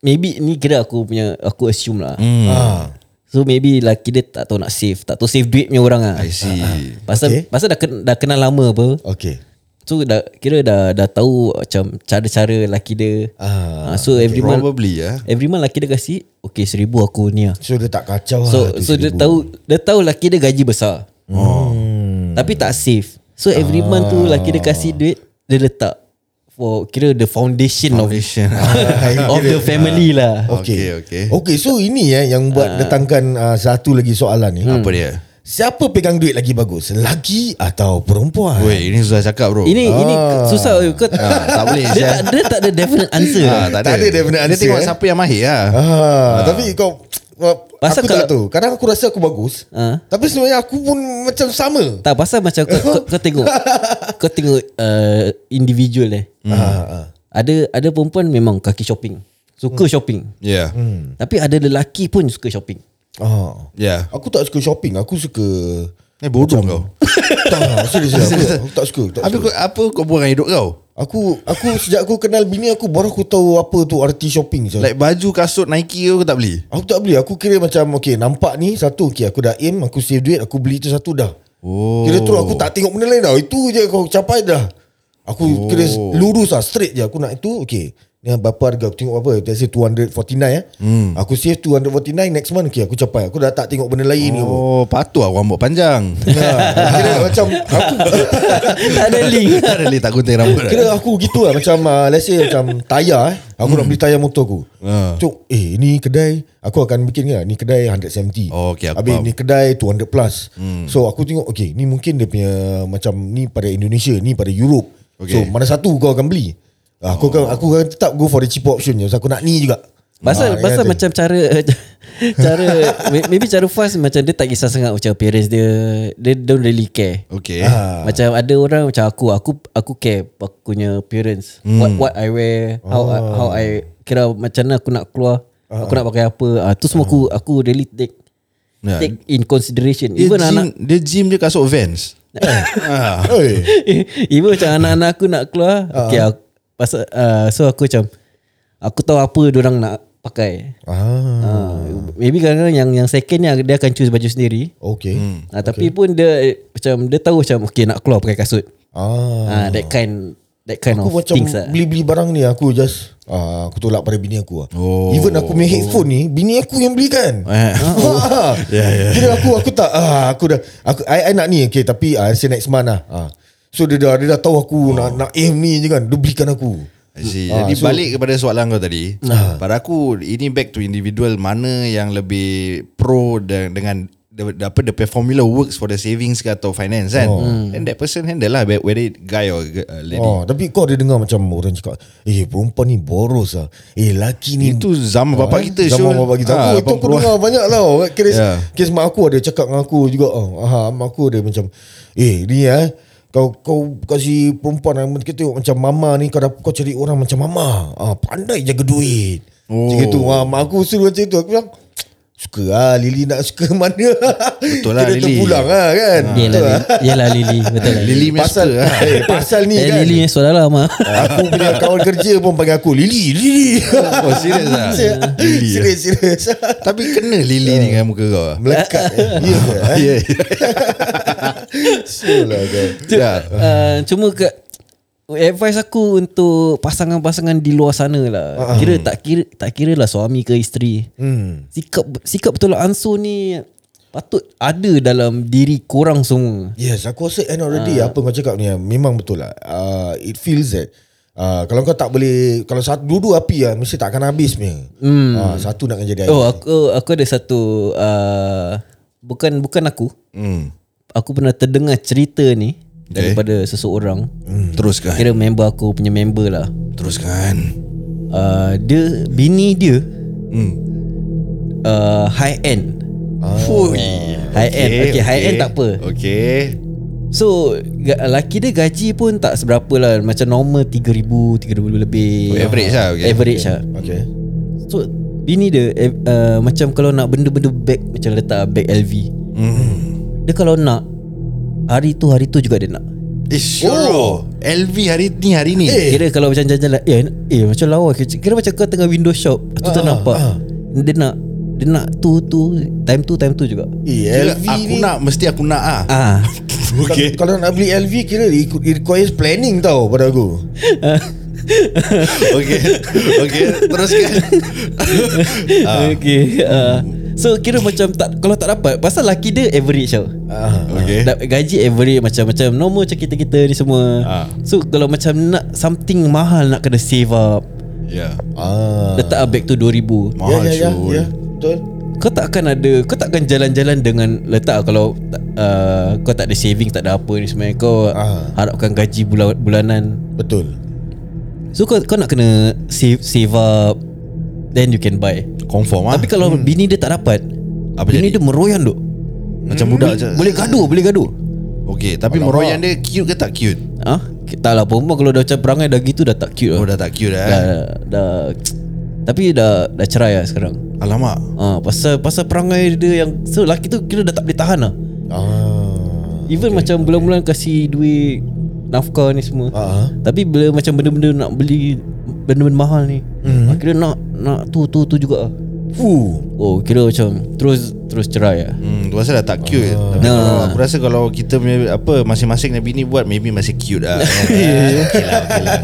[SPEAKER 2] maybe ni kira aku punya aku assume lah. Mm.
[SPEAKER 4] Hmm.
[SPEAKER 3] Ah.
[SPEAKER 2] So maybe laki dia tak tahu nak save, tak tahu save duit punya orang ah.
[SPEAKER 4] I see
[SPEAKER 2] Pasal okay.
[SPEAKER 3] Okay.
[SPEAKER 2] pasal dah ken, dah kenal lama apa.
[SPEAKER 3] Okay.
[SPEAKER 2] So dah kira dah dah tahu macam cara-cara laki dia.
[SPEAKER 3] Ah,
[SPEAKER 2] Ah, so every month
[SPEAKER 4] Probably lah
[SPEAKER 2] every month laki dia kasi okay seribu aku ni ah.
[SPEAKER 3] So dia tak kacau
[SPEAKER 2] So
[SPEAKER 3] lah tu
[SPEAKER 2] so dia
[SPEAKER 3] seribu.
[SPEAKER 4] Hmm.
[SPEAKER 2] tahu dia tahu laki dia gaji besar. Oh. Tapi tak save. So
[SPEAKER 4] Ah.
[SPEAKER 2] every month tu laki dia kasi duit Dia letak For kira the foundation,
[SPEAKER 4] Foundation.
[SPEAKER 2] *laughs* of Of the family lah
[SPEAKER 4] Okey,
[SPEAKER 3] Okay.
[SPEAKER 4] okey.
[SPEAKER 3] Okay, okay so ini eh yang buat datangkan uh, satu lagi soalan ni.
[SPEAKER 4] Apa dia?
[SPEAKER 3] Siapa pegang duit lagi bagus? Lelaki atau perempuan?
[SPEAKER 4] Weh, ini susah cakap bro.
[SPEAKER 2] Ini ini susah kau
[SPEAKER 4] Ah, tak boleh,
[SPEAKER 2] Dia
[SPEAKER 4] Syah.
[SPEAKER 2] tak dia tak ada definite answer.
[SPEAKER 4] Ah, tak,
[SPEAKER 3] Tak
[SPEAKER 4] ada.
[SPEAKER 3] ada definite
[SPEAKER 4] Dia
[SPEAKER 3] answer,
[SPEAKER 4] tengok
[SPEAKER 3] eh.
[SPEAKER 4] siapa yang mahir lah.
[SPEAKER 3] Ah, tapi kau
[SPEAKER 2] Pasal
[SPEAKER 3] Pasal aku tak
[SPEAKER 2] kalau-
[SPEAKER 3] tahu. Kadang aku rasa aku bagus.
[SPEAKER 2] Ah.
[SPEAKER 3] Tapi sebenarnya aku pun macam sama.
[SPEAKER 2] Tak pasal macam kau, kau, kau tengok kau tengok uh, individual eh.
[SPEAKER 3] Ah, ah.
[SPEAKER 2] Ada ada perempuan memang kaki shopping. Suka
[SPEAKER 4] Hmm.
[SPEAKER 2] shopping.
[SPEAKER 4] Yeah.
[SPEAKER 2] Tapi ada lelaki pun suka shopping. *laughs*
[SPEAKER 3] Ah.
[SPEAKER 4] Yeah.
[SPEAKER 3] Aku tak suka shopping. Aku suka
[SPEAKER 4] Eh, Ya. bodoh kau.
[SPEAKER 3] tak, ah, serius aku, aku tak suka. Tak
[SPEAKER 4] Habis
[SPEAKER 3] suka.
[SPEAKER 4] kau, apa kau buang dengan hidup kau?
[SPEAKER 3] Aku aku sejak aku kenal bini aku baru aku tahu apa tu arti shopping. Like,
[SPEAKER 4] Like baju, kasut, Nike kau, kau tak beli?
[SPEAKER 3] aku tak beli. Aku kira macam okay nampak ni satu okay aku dah aim, aku save duit, aku beli tu satu dah.
[SPEAKER 4] Oh.
[SPEAKER 3] Kira terus aku tak tengok benda lain dah. Itu je kau capai dah. Aku oh. kira lurus lah straight je aku nak itu okay. Ni berapa harga aku tengok apa Let's say 249 eh. Hmm. Aku save 249 Next month okay, Aku capai Aku dah tak tengok benda lain ni
[SPEAKER 4] Oh,
[SPEAKER 3] oh.
[SPEAKER 4] patut aku rambut panjang.
[SPEAKER 3] *laughs* Kira macam Aku
[SPEAKER 2] tak ada
[SPEAKER 4] *laughs*
[SPEAKER 2] link.
[SPEAKER 4] *laughs* tak boleh tak gunting rambut.
[SPEAKER 3] Kira aku gitu lah Macam uh, let's say Macam tayar eh. Aku
[SPEAKER 4] Hmm.
[SPEAKER 3] nak beli tayar motor aku
[SPEAKER 4] Ah.
[SPEAKER 3] Cuk Eh ni kedai Aku akan bikin ni lah Ni kedai 170
[SPEAKER 4] Oh, okay, aku
[SPEAKER 3] Habis
[SPEAKER 4] faham. Hmm.
[SPEAKER 3] ni kedai 200 plus So aku tengok Okay ni mungkin dia punya Macam ni pada Indonesia Ni pada Europe
[SPEAKER 4] Okay. Oh.
[SPEAKER 3] So mana satu kau akan beli Ah, Aku akan aku akan tetap go for the cheaper option je Sebab aku nak ni juga
[SPEAKER 2] Pasal
[SPEAKER 3] Ah,
[SPEAKER 2] pasal
[SPEAKER 3] ya tu.
[SPEAKER 2] macam cara *laughs* cara may- maybe cara fast macam dia tak kisah sangat macam parents dia dia don't really care.
[SPEAKER 4] Okay.
[SPEAKER 2] Ah. Macam ada orang macam aku aku aku care aku punya parents hmm. what what I wear how I, how I kira macam mana aku nak keluar aku nak pakai apa ah Eh, tu semua aku aku really take
[SPEAKER 4] Ya.
[SPEAKER 2] take in consideration
[SPEAKER 4] Dia
[SPEAKER 2] even
[SPEAKER 4] gym,
[SPEAKER 2] anak *laughs*
[SPEAKER 4] dia gym je kasut Vans. ah.
[SPEAKER 3] Oi.
[SPEAKER 2] even macam anak-anak aku nak keluar okay aku, pasal ah, so aku macam aku tahu apa orang nak pakai
[SPEAKER 3] Ah,
[SPEAKER 2] Ah, maybe kadang-kadang yang yang second ni dia akan choose baju sendiri.
[SPEAKER 3] okay.
[SPEAKER 4] Hmm.
[SPEAKER 2] Ah, tapi pun dia eh, macam dia tahu macam okay nak keluar pakai kasut. Ah,
[SPEAKER 3] Ah,
[SPEAKER 2] that kind that kind
[SPEAKER 3] Aku
[SPEAKER 2] of
[SPEAKER 3] macam
[SPEAKER 2] things lah.
[SPEAKER 3] beli-beli barang ni Aku just uh, Aku tolak pada bini aku lah.
[SPEAKER 4] Oh.
[SPEAKER 3] Even aku punya headphone ni Bini aku
[SPEAKER 2] *laughs*
[SPEAKER 3] yang belikan *laughs*
[SPEAKER 4] Eh.
[SPEAKER 3] oh.
[SPEAKER 4] Ya,
[SPEAKER 3] yeah, yeah. Kira aku Aku tak ah, Aku dah aku, I, I nak ni Okay tapi uh, Say next month lah ah. So dia dah, dia dah tahu aku oh. nak, nak aim ni je kan Dia belikan aku
[SPEAKER 4] I see. Jadi
[SPEAKER 3] Ah, so-
[SPEAKER 4] balik kepada soalan kau tadi.
[SPEAKER 2] Ah.
[SPEAKER 4] Pada aku ini back to individual mana yang lebih pro de- dengan the, the, apa the formula works for the savings ke atau finance kan.
[SPEAKER 2] Hmm.
[SPEAKER 4] And that person handle lah whether it guy or g- uh, lady.
[SPEAKER 3] oh, Tapi kau ada dengar macam Orang cakap Eh perempuan ni boros lah Eh laki ni
[SPEAKER 4] Itu zaman bapak kita
[SPEAKER 3] Oh, eh? Zaman
[SPEAKER 4] Syul.
[SPEAKER 3] bapak kita
[SPEAKER 4] Ah,
[SPEAKER 3] ha, Itu aku
[SPEAKER 4] 80-an.
[SPEAKER 3] dengar banyak lah Kes,
[SPEAKER 4] Ya.
[SPEAKER 3] yeah. kes mak aku ada cakap dengan aku juga oh, aha, Mak aku ada macam Eh ni eh kau kau kasi perempuan yang kita tengok macam mama ni kau dah, kau cari orang macam mama. Ah pandai jaga duit.
[SPEAKER 4] Oh.
[SPEAKER 3] Oh. Macam tu. Ah, mak aku suruh macam tu. Aku bilang suka ah Lily nak suka *laughs* mana. Betul
[SPEAKER 4] lah,
[SPEAKER 3] Kita
[SPEAKER 4] Lily.
[SPEAKER 3] terpulang ah kan.
[SPEAKER 2] Yelah,
[SPEAKER 3] Betul lah.
[SPEAKER 2] Lily. Yelah
[SPEAKER 3] *laughs*
[SPEAKER 2] Lily, betul lah.
[SPEAKER 4] Lily
[SPEAKER 3] Pasal
[SPEAKER 4] Master lah.
[SPEAKER 3] *laughs* eh, pasal ni
[SPEAKER 2] Eh,
[SPEAKER 3] kan. Ah.
[SPEAKER 2] Lily yang saudara lama. *laughs*
[SPEAKER 3] Aku punya kawan kerja pun panggil aku Lily, Lily.
[SPEAKER 4] Oh serius
[SPEAKER 3] *laughs*
[SPEAKER 4] lah Lily
[SPEAKER 3] Serius, serius.
[SPEAKER 4] Tapi kena Lily ni dengan muka kau
[SPEAKER 3] Melekat eh. Ya ke
[SPEAKER 4] *laughs*
[SPEAKER 3] eh?
[SPEAKER 4] Ya
[SPEAKER 3] Sure lah kan
[SPEAKER 4] Ya
[SPEAKER 2] Uh, cuma ke advice aku untuk pasangan-pasangan di luar sana lah. Kira tak kira tak kira lah suami ke isteri.
[SPEAKER 3] Ah. Hmm
[SPEAKER 2] Sikap sikap betul lah ansur ni patut ada dalam diri korang semua.
[SPEAKER 3] Yes aku rasa end already Apa kau cakap ni Memang betul lah uh, It feels that uh, Kalau kau tak boleh Kalau satu dua-dua api lah Mesti tak akan habis punya hmm. uh, Satu nak
[SPEAKER 4] Eh.
[SPEAKER 3] jadi air
[SPEAKER 2] Oh aku aku ada satu uh, bukan bukan aku.
[SPEAKER 4] Hmm.
[SPEAKER 2] Aku pernah terdengar cerita ni
[SPEAKER 4] Okay.
[SPEAKER 2] daripada seseorang.
[SPEAKER 4] Hmm. Teruskan
[SPEAKER 2] Kira member aku punya member lah.
[SPEAKER 4] Teruskan
[SPEAKER 2] Uh, dia bini dia
[SPEAKER 4] Hmm.
[SPEAKER 2] uh, high end.
[SPEAKER 4] Ah.
[SPEAKER 2] Eh,
[SPEAKER 4] Fui
[SPEAKER 2] High end. Okay, high end tak apa.
[SPEAKER 4] Okay
[SPEAKER 2] So ga- laki dia gaji pun tak seberapa lah Macam normal 3,000 3,000 lebih
[SPEAKER 4] Oh, average lah, okay.
[SPEAKER 2] Average lah
[SPEAKER 3] Okay
[SPEAKER 2] So bini dia eh, uh, Macam kalau nak benda-benda bag Macam letak bag LV Dia kalau nak Hari tu hari tu juga dia nak
[SPEAKER 4] Eh sure LV hari ni hari ni
[SPEAKER 2] eh. Kira kalau macam jalan-jalan eh, eh macam lawa Kira kira macam kau tengah window shop Lepas tu uh, nampak uh. Dia nak Dia nak tu tu Time tu time tu juga
[SPEAKER 3] Eh,
[SPEAKER 4] Kira
[SPEAKER 3] LV
[SPEAKER 4] Aku
[SPEAKER 3] ni
[SPEAKER 4] nak mesti aku nak ah.
[SPEAKER 2] Ah,
[SPEAKER 3] okay. Kalau nak beli LV Kira it it requires planning tau
[SPEAKER 2] *laughs*
[SPEAKER 3] Pada aku
[SPEAKER 4] Okay Okay Teruskan
[SPEAKER 2] okay. Uh, So kira macam tak Kalau tak dapat Pasal laki dia average tau
[SPEAKER 4] Okay
[SPEAKER 2] Da- Gaji average Macam-macam Normal macam kita-kita ni semua
[SPEAKER 4] Ah.
[SPEAKER 2] So kalau macam nak Something mahal Nak kena save up
[SPEAKER 4] Yeah
[SPEAKER 3] Ah.
[SPEAKER 2] Letak uh. back tu 2000
[SPEAKER 3] Ya
[SPEAKER 4] ya. Mahal
[SPEAKER 3] ya ya.
[SPEAKER 4] Syul.
[SPEAKER 3] ya. Betul.
[SPEAKER 2] Kau takkan ada Kau takkan jalan-jalan dengan Letak kalau tak- uh, Kau tak ada saving Tak ada apa ni sebenarnya Kau
[SPEAKER 3] Ah.
[SPEAKER 2] harapkan gaji bula- bulanan
[SPEAKER 3] Betul.
[SPEAKER 2] So kau, kau nak kena save, save up Then you can buy
[SPEAKER 4] Confirm ah.
[SPEAKER 2] Tapi kalau hmm. bini dia tak dapat
[SPEAKER 4] Apa
[SPEAKER 2] Bini
[SPEAKER 4] jadi?
[SPEAKER 2] dia meroyan duk Hmm.
[SPEAKER 4] Macam budak je
[SPEAKER 2] Boleh gaduh Boleh gaduh
[SPEAKER 4] Okay Tapi
[SPEAKER 3] Alamak.
[SPEAKER 4] meroyan dia Cute ke tak cute
[SPEAKER 2] Ha? Tak lah perempuan kalau dah macam perangai dah gitu dah tak cute
[SPEAKER 4] Ah. Oh
[SPEAKER 2] lah.
[SPEAKER 4] dah tak cute
[SPEAKER 2] dah,
[SPEAKER 4] eh
[SPEAKER 2] dah, Tapi dah dah cerai lah sekarang
[SPEAKER 4] Alamak
[SPEAKER 2] ha, pasal pasal perangai dia yang So lelaki tu kira dah tak boleh tahan lah
[SPEAKER 3] Ah.
[SPEAKER 2] Even okay, macam bulan-bulan kasi duit Nafkah ni semua
[SPEAKER 3] Ah.
[SPEAKER 2] Tapi bila macam benda-benda nak beli Benda-benda mahal ni mm. Kira nak nak tu tu tu juga lah.
[SPEAKER 3] Hmm. Fuh.
[SPEAKER 2] Oh kira macam Terus terus cerai lah
[SPEAKER 4] Hmm, tu rasa dah tak cute
[SPEAKER 3] Ah.
[SPEAKER 4] Tapi
[SPEAKER 2] Nah.
[SPEAKER 4] kalau, Aku rasa kalau kita punya Apa Masing-masing yang bini buat Maybe masih cute
[SPEAKER 3] *laughs*
[SPEAKER 4] lah Okay lah, okay lah.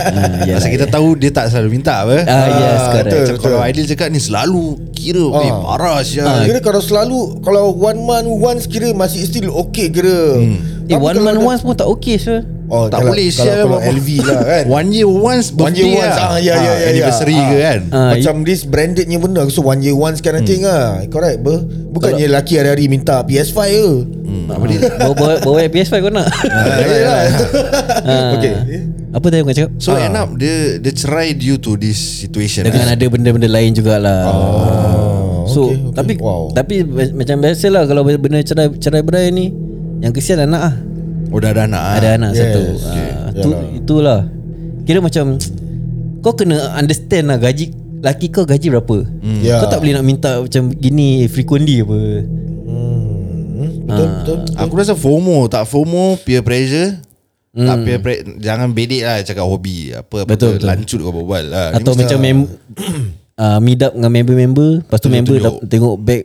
[SPEAKER 2] yelah,
[SPEAKER 4] Pasal kita tahu Dia tak selalu minta apa
[SPEAKER 2] Hmm, Ah, yes, correct.
[SPEAKER 4] Macam
[SPEAKER 3] Betul,
[SPEAKER 4] Kalau
[SPEAKER 3] betul.
[SPEAKER 4] Aidil cakap ni Selalu Kira Eh
[SPEAKER 3] Ah.
[SPEAKER 4] parah sya.
[SPEAKER 3] Ah, kira kalau selalu Kalau one month once Kira masih still okay kira hmm.
[SPEAKER 2] Eh one man once pun tak okay sure
[SPEAKER 3] oh,
[SPEAKER 4] tak
[SPEAKER 3] kalau,
[SPEAKER 4] boleh
[SPEAKER 3] Kalau,
[SPEAKER 4] share
[SPEAKER 3] kalau LV
[SPEAKER 4] *laughs*
[SPEAKER 3] lah kan
[SPEAKER 4] One year once
[SPEAKER 3] One
[SPEAKER 4] birthday
[SPEAKER 3] year once
[SPEAKER 4] lah.
[SPEAKER 3] ah, ya, ya,
[SPEAKER 4] Ah,
[SPEAKER 3] ya, ya.
[SPEAKER 4] Anniversary
[SPEAKER 3] Ah.
[SPEAKER 4] ke kan
[SPEAKER 2] Ah,
[SPEAKER 3] Macam this brandednya benda So one year once kind of thing lah Correct ber Bukannya lelaki hari-hari minta PS5 ke
[SPEAKER 2] Nak beli Bawa, bawa, bawa PS5 kau nak
[SPEAKER 3] Hmm, *laughs* Ah, yelah. *laughs* Okay
[SPEAKER 2] Apa tadi aku nak cakap
[SPEAKER 4] So end up Dia dia cerai due to this situation
[SPEAKER 2] Ah.
[SPEAKER 4] kan?
[SPEAKER 2] Dengan ada benda-benda lain jugalah oh, So
[SPEAKER 3] okay,
[SPEAKER 2] okay,
[SPEAKER 3] okay.
[SPEAKER 2] okay. tapi
[SPEAKER 3] Ah, Wow.
[SPEAKER 2] wow. tapi ma- macam biasalah kalau benda cerai cerai berai ni yang kesian anak ah.
[SPEAKER 4] Oh dah ada anak ah.
[SPEAKER 2] Ada anak
[SPEAKER 3] yes,
[SPEAKER 2] satu.
[SPEAKER 3] okay.
[SPEAKER 2] Ah, tu
[SPEAKER 3] Yalah.
[SPEAKER 2] itulah. Kira macam kau kena understand lah gaji laki kau gaji berapa. Hmm.
[SPEAKER 3] Ya.
[SPEAKER 2] Kau tak boleh nak minta macam gini frequently apa.
[SPEAKER 3] Hmm, Betul betul
[SPEAKER 4] Aku rasa FOMO Tak FOMO Peer pressure mm. Tak peer pre- Jangan bedek lah Cakap hobi Apa, apa
[SPEAKER 2] Hmm. Betul,
[SPEAKER 4] ke,
[SPEAKER 2] betul.
[SPEAKER 4] Lancut kau berbual lah. Ni
[SPEAKER 2] Atau
[SPEAKER 4] mesti-
[SPEAKER 2] macam
[SPEAKER 4] *coughs*
[SPEAKER 2] mem uh, meet up dengan member-member, lepas tu member
[SPEAKER 4] tunjuk.
[SPEAKER 2] dah tengok bag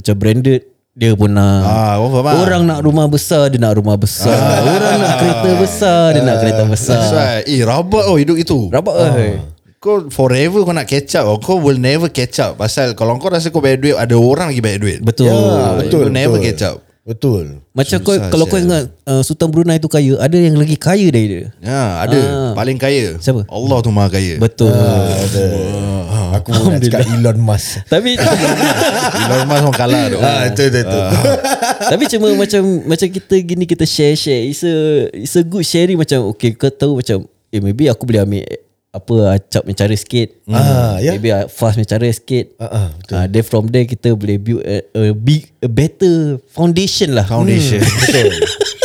[SPEAKER 2] macam branded dia pun nak
[SPEAKER 4] Ah, confirm ah.
[SPEAKER 2] Orang nak rumah besar Dia nak rumah besar Orang nak kereta besar Dia nak kereta besar
[SPEAKER 4] That's why Eh rabak oh hidup itu
[SPEAKER 2] Ah. Rabak ah.
[SPEAKER 4] Kau forever kau nak catch up oh. Kau will never catch up Pasal kalau kau rasa kau bayar duit Ada orang lagi bayar duit
[SPEAKER 2] Betul
[SPEAKER 3] Ah,
[SPEAKER 4] You
[SPEAKER 3] Betul
[SPEAKER 4] never
[SPEAKER 3] betul.
[SPEAKER 4] catch up.
[SPEAKER 3] Betul
[SPEAKER 2] Macam kau
[SPEAKER 4] Ya. Susah
[SPEAKER 2] Kalau kau
[SPEAKER 4] sial.
[SPEAKER 2] ingat uh, Sultan Brunei tu kaya Ada yang lagi kaya dari dia
[SPEAKER 4] Ya ada
[SPEAKER 2] Ah.
[SPEAKER 4] Paling kaya
[SPEAKER 2] Siapa?
[SPEAKER 4] Allah tu maha kaya
[SPEAKER 2] Betul
[SPEAKER 3] Ah, betul.
[SPEAKER 4] *laughs*
[SPEAKER 3] Aku pun nak cakap Elon Musk
[SPEAKER 2] Tapi *laughs*
[SPEAKER 4] Elon Musk orang kalah tu
[SPEAKER 3] Ah, betul betul betul.
[SPEAKER 2] Tapi cuma macam Macam kita gini Kita share-share It's a, it's a good sharing Macam okay Kau tahu macam Eh maybe aku boleh ambil Apa Acap punya cara sikit
[SPEAKER 3] Ah, ya.
[SPEAKER 2] Maybe I fast punya cara sikit
[SPEAKER 3] Ah, ah, betul.
[SPEAKER 2] Ah, Then from there Kita boleh build a, a, big, a better Foundation lah
[SPEAKER 4] Foundation
[SPEAKER 3] *laughs* Betul.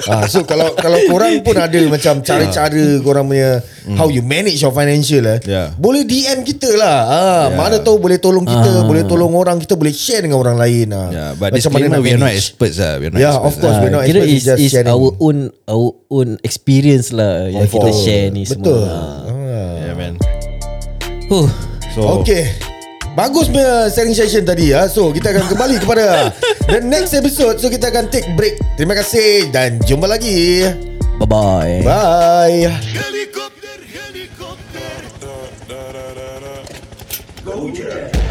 [SPEAKER 3] Ah, so kalau kalau korang pun ada macam cara-cara korang punya how you manage your financial eh.
[SPEAKER 4] Yeah.
[SPEAKER 3] Boleh DM kita lah. Ah, mana tahu boleh tolong kita, boleh tolong orang, kita boleh share dengan orang lain ah.
[SPEAKER 4] Yeah, Ya, But disclaimer We are not experts lah We are not
[SPEAKER 3] Yeah,
[SPEAKER 4] experts
[SPEAKER 3] Ya, of course
[SPEAKER 4] lah.
[SPEAKER 3] we're
[SPEAKER 2] Ah,
[SPEAKER 3] not
[SPEAKER 2] kira
[SPEAKER 3] experts,
[SPEAKER 2] is,
[SPEAKER 3] it's just
[SPEAKER 2] is
[SPEAKER 3] sharing.
[SPEAKER 2] our own our own experience lah yang kita
[SPEAKER 3] Betul.
[SPEAKER 2] share ni semua. Ah.
[SPEAKER 3] Betul. Ah.
[SPEAKER 4] Yeah man
[SPEAKER 2] Huh.
[SPEAKER 4] So
[SPEAKER 3] Okay Bagus punya sharing session tadi ya. So kita akan kembali kepada The next episode So kita akan take break Terima kasih Dan jumpa lagi
[SPEAKER 2] Bye bye.
[SPEAKER 3] Bye
[SPEAKER 1] Helicopter, helicopter. Da, da, da, da. Go, Jack.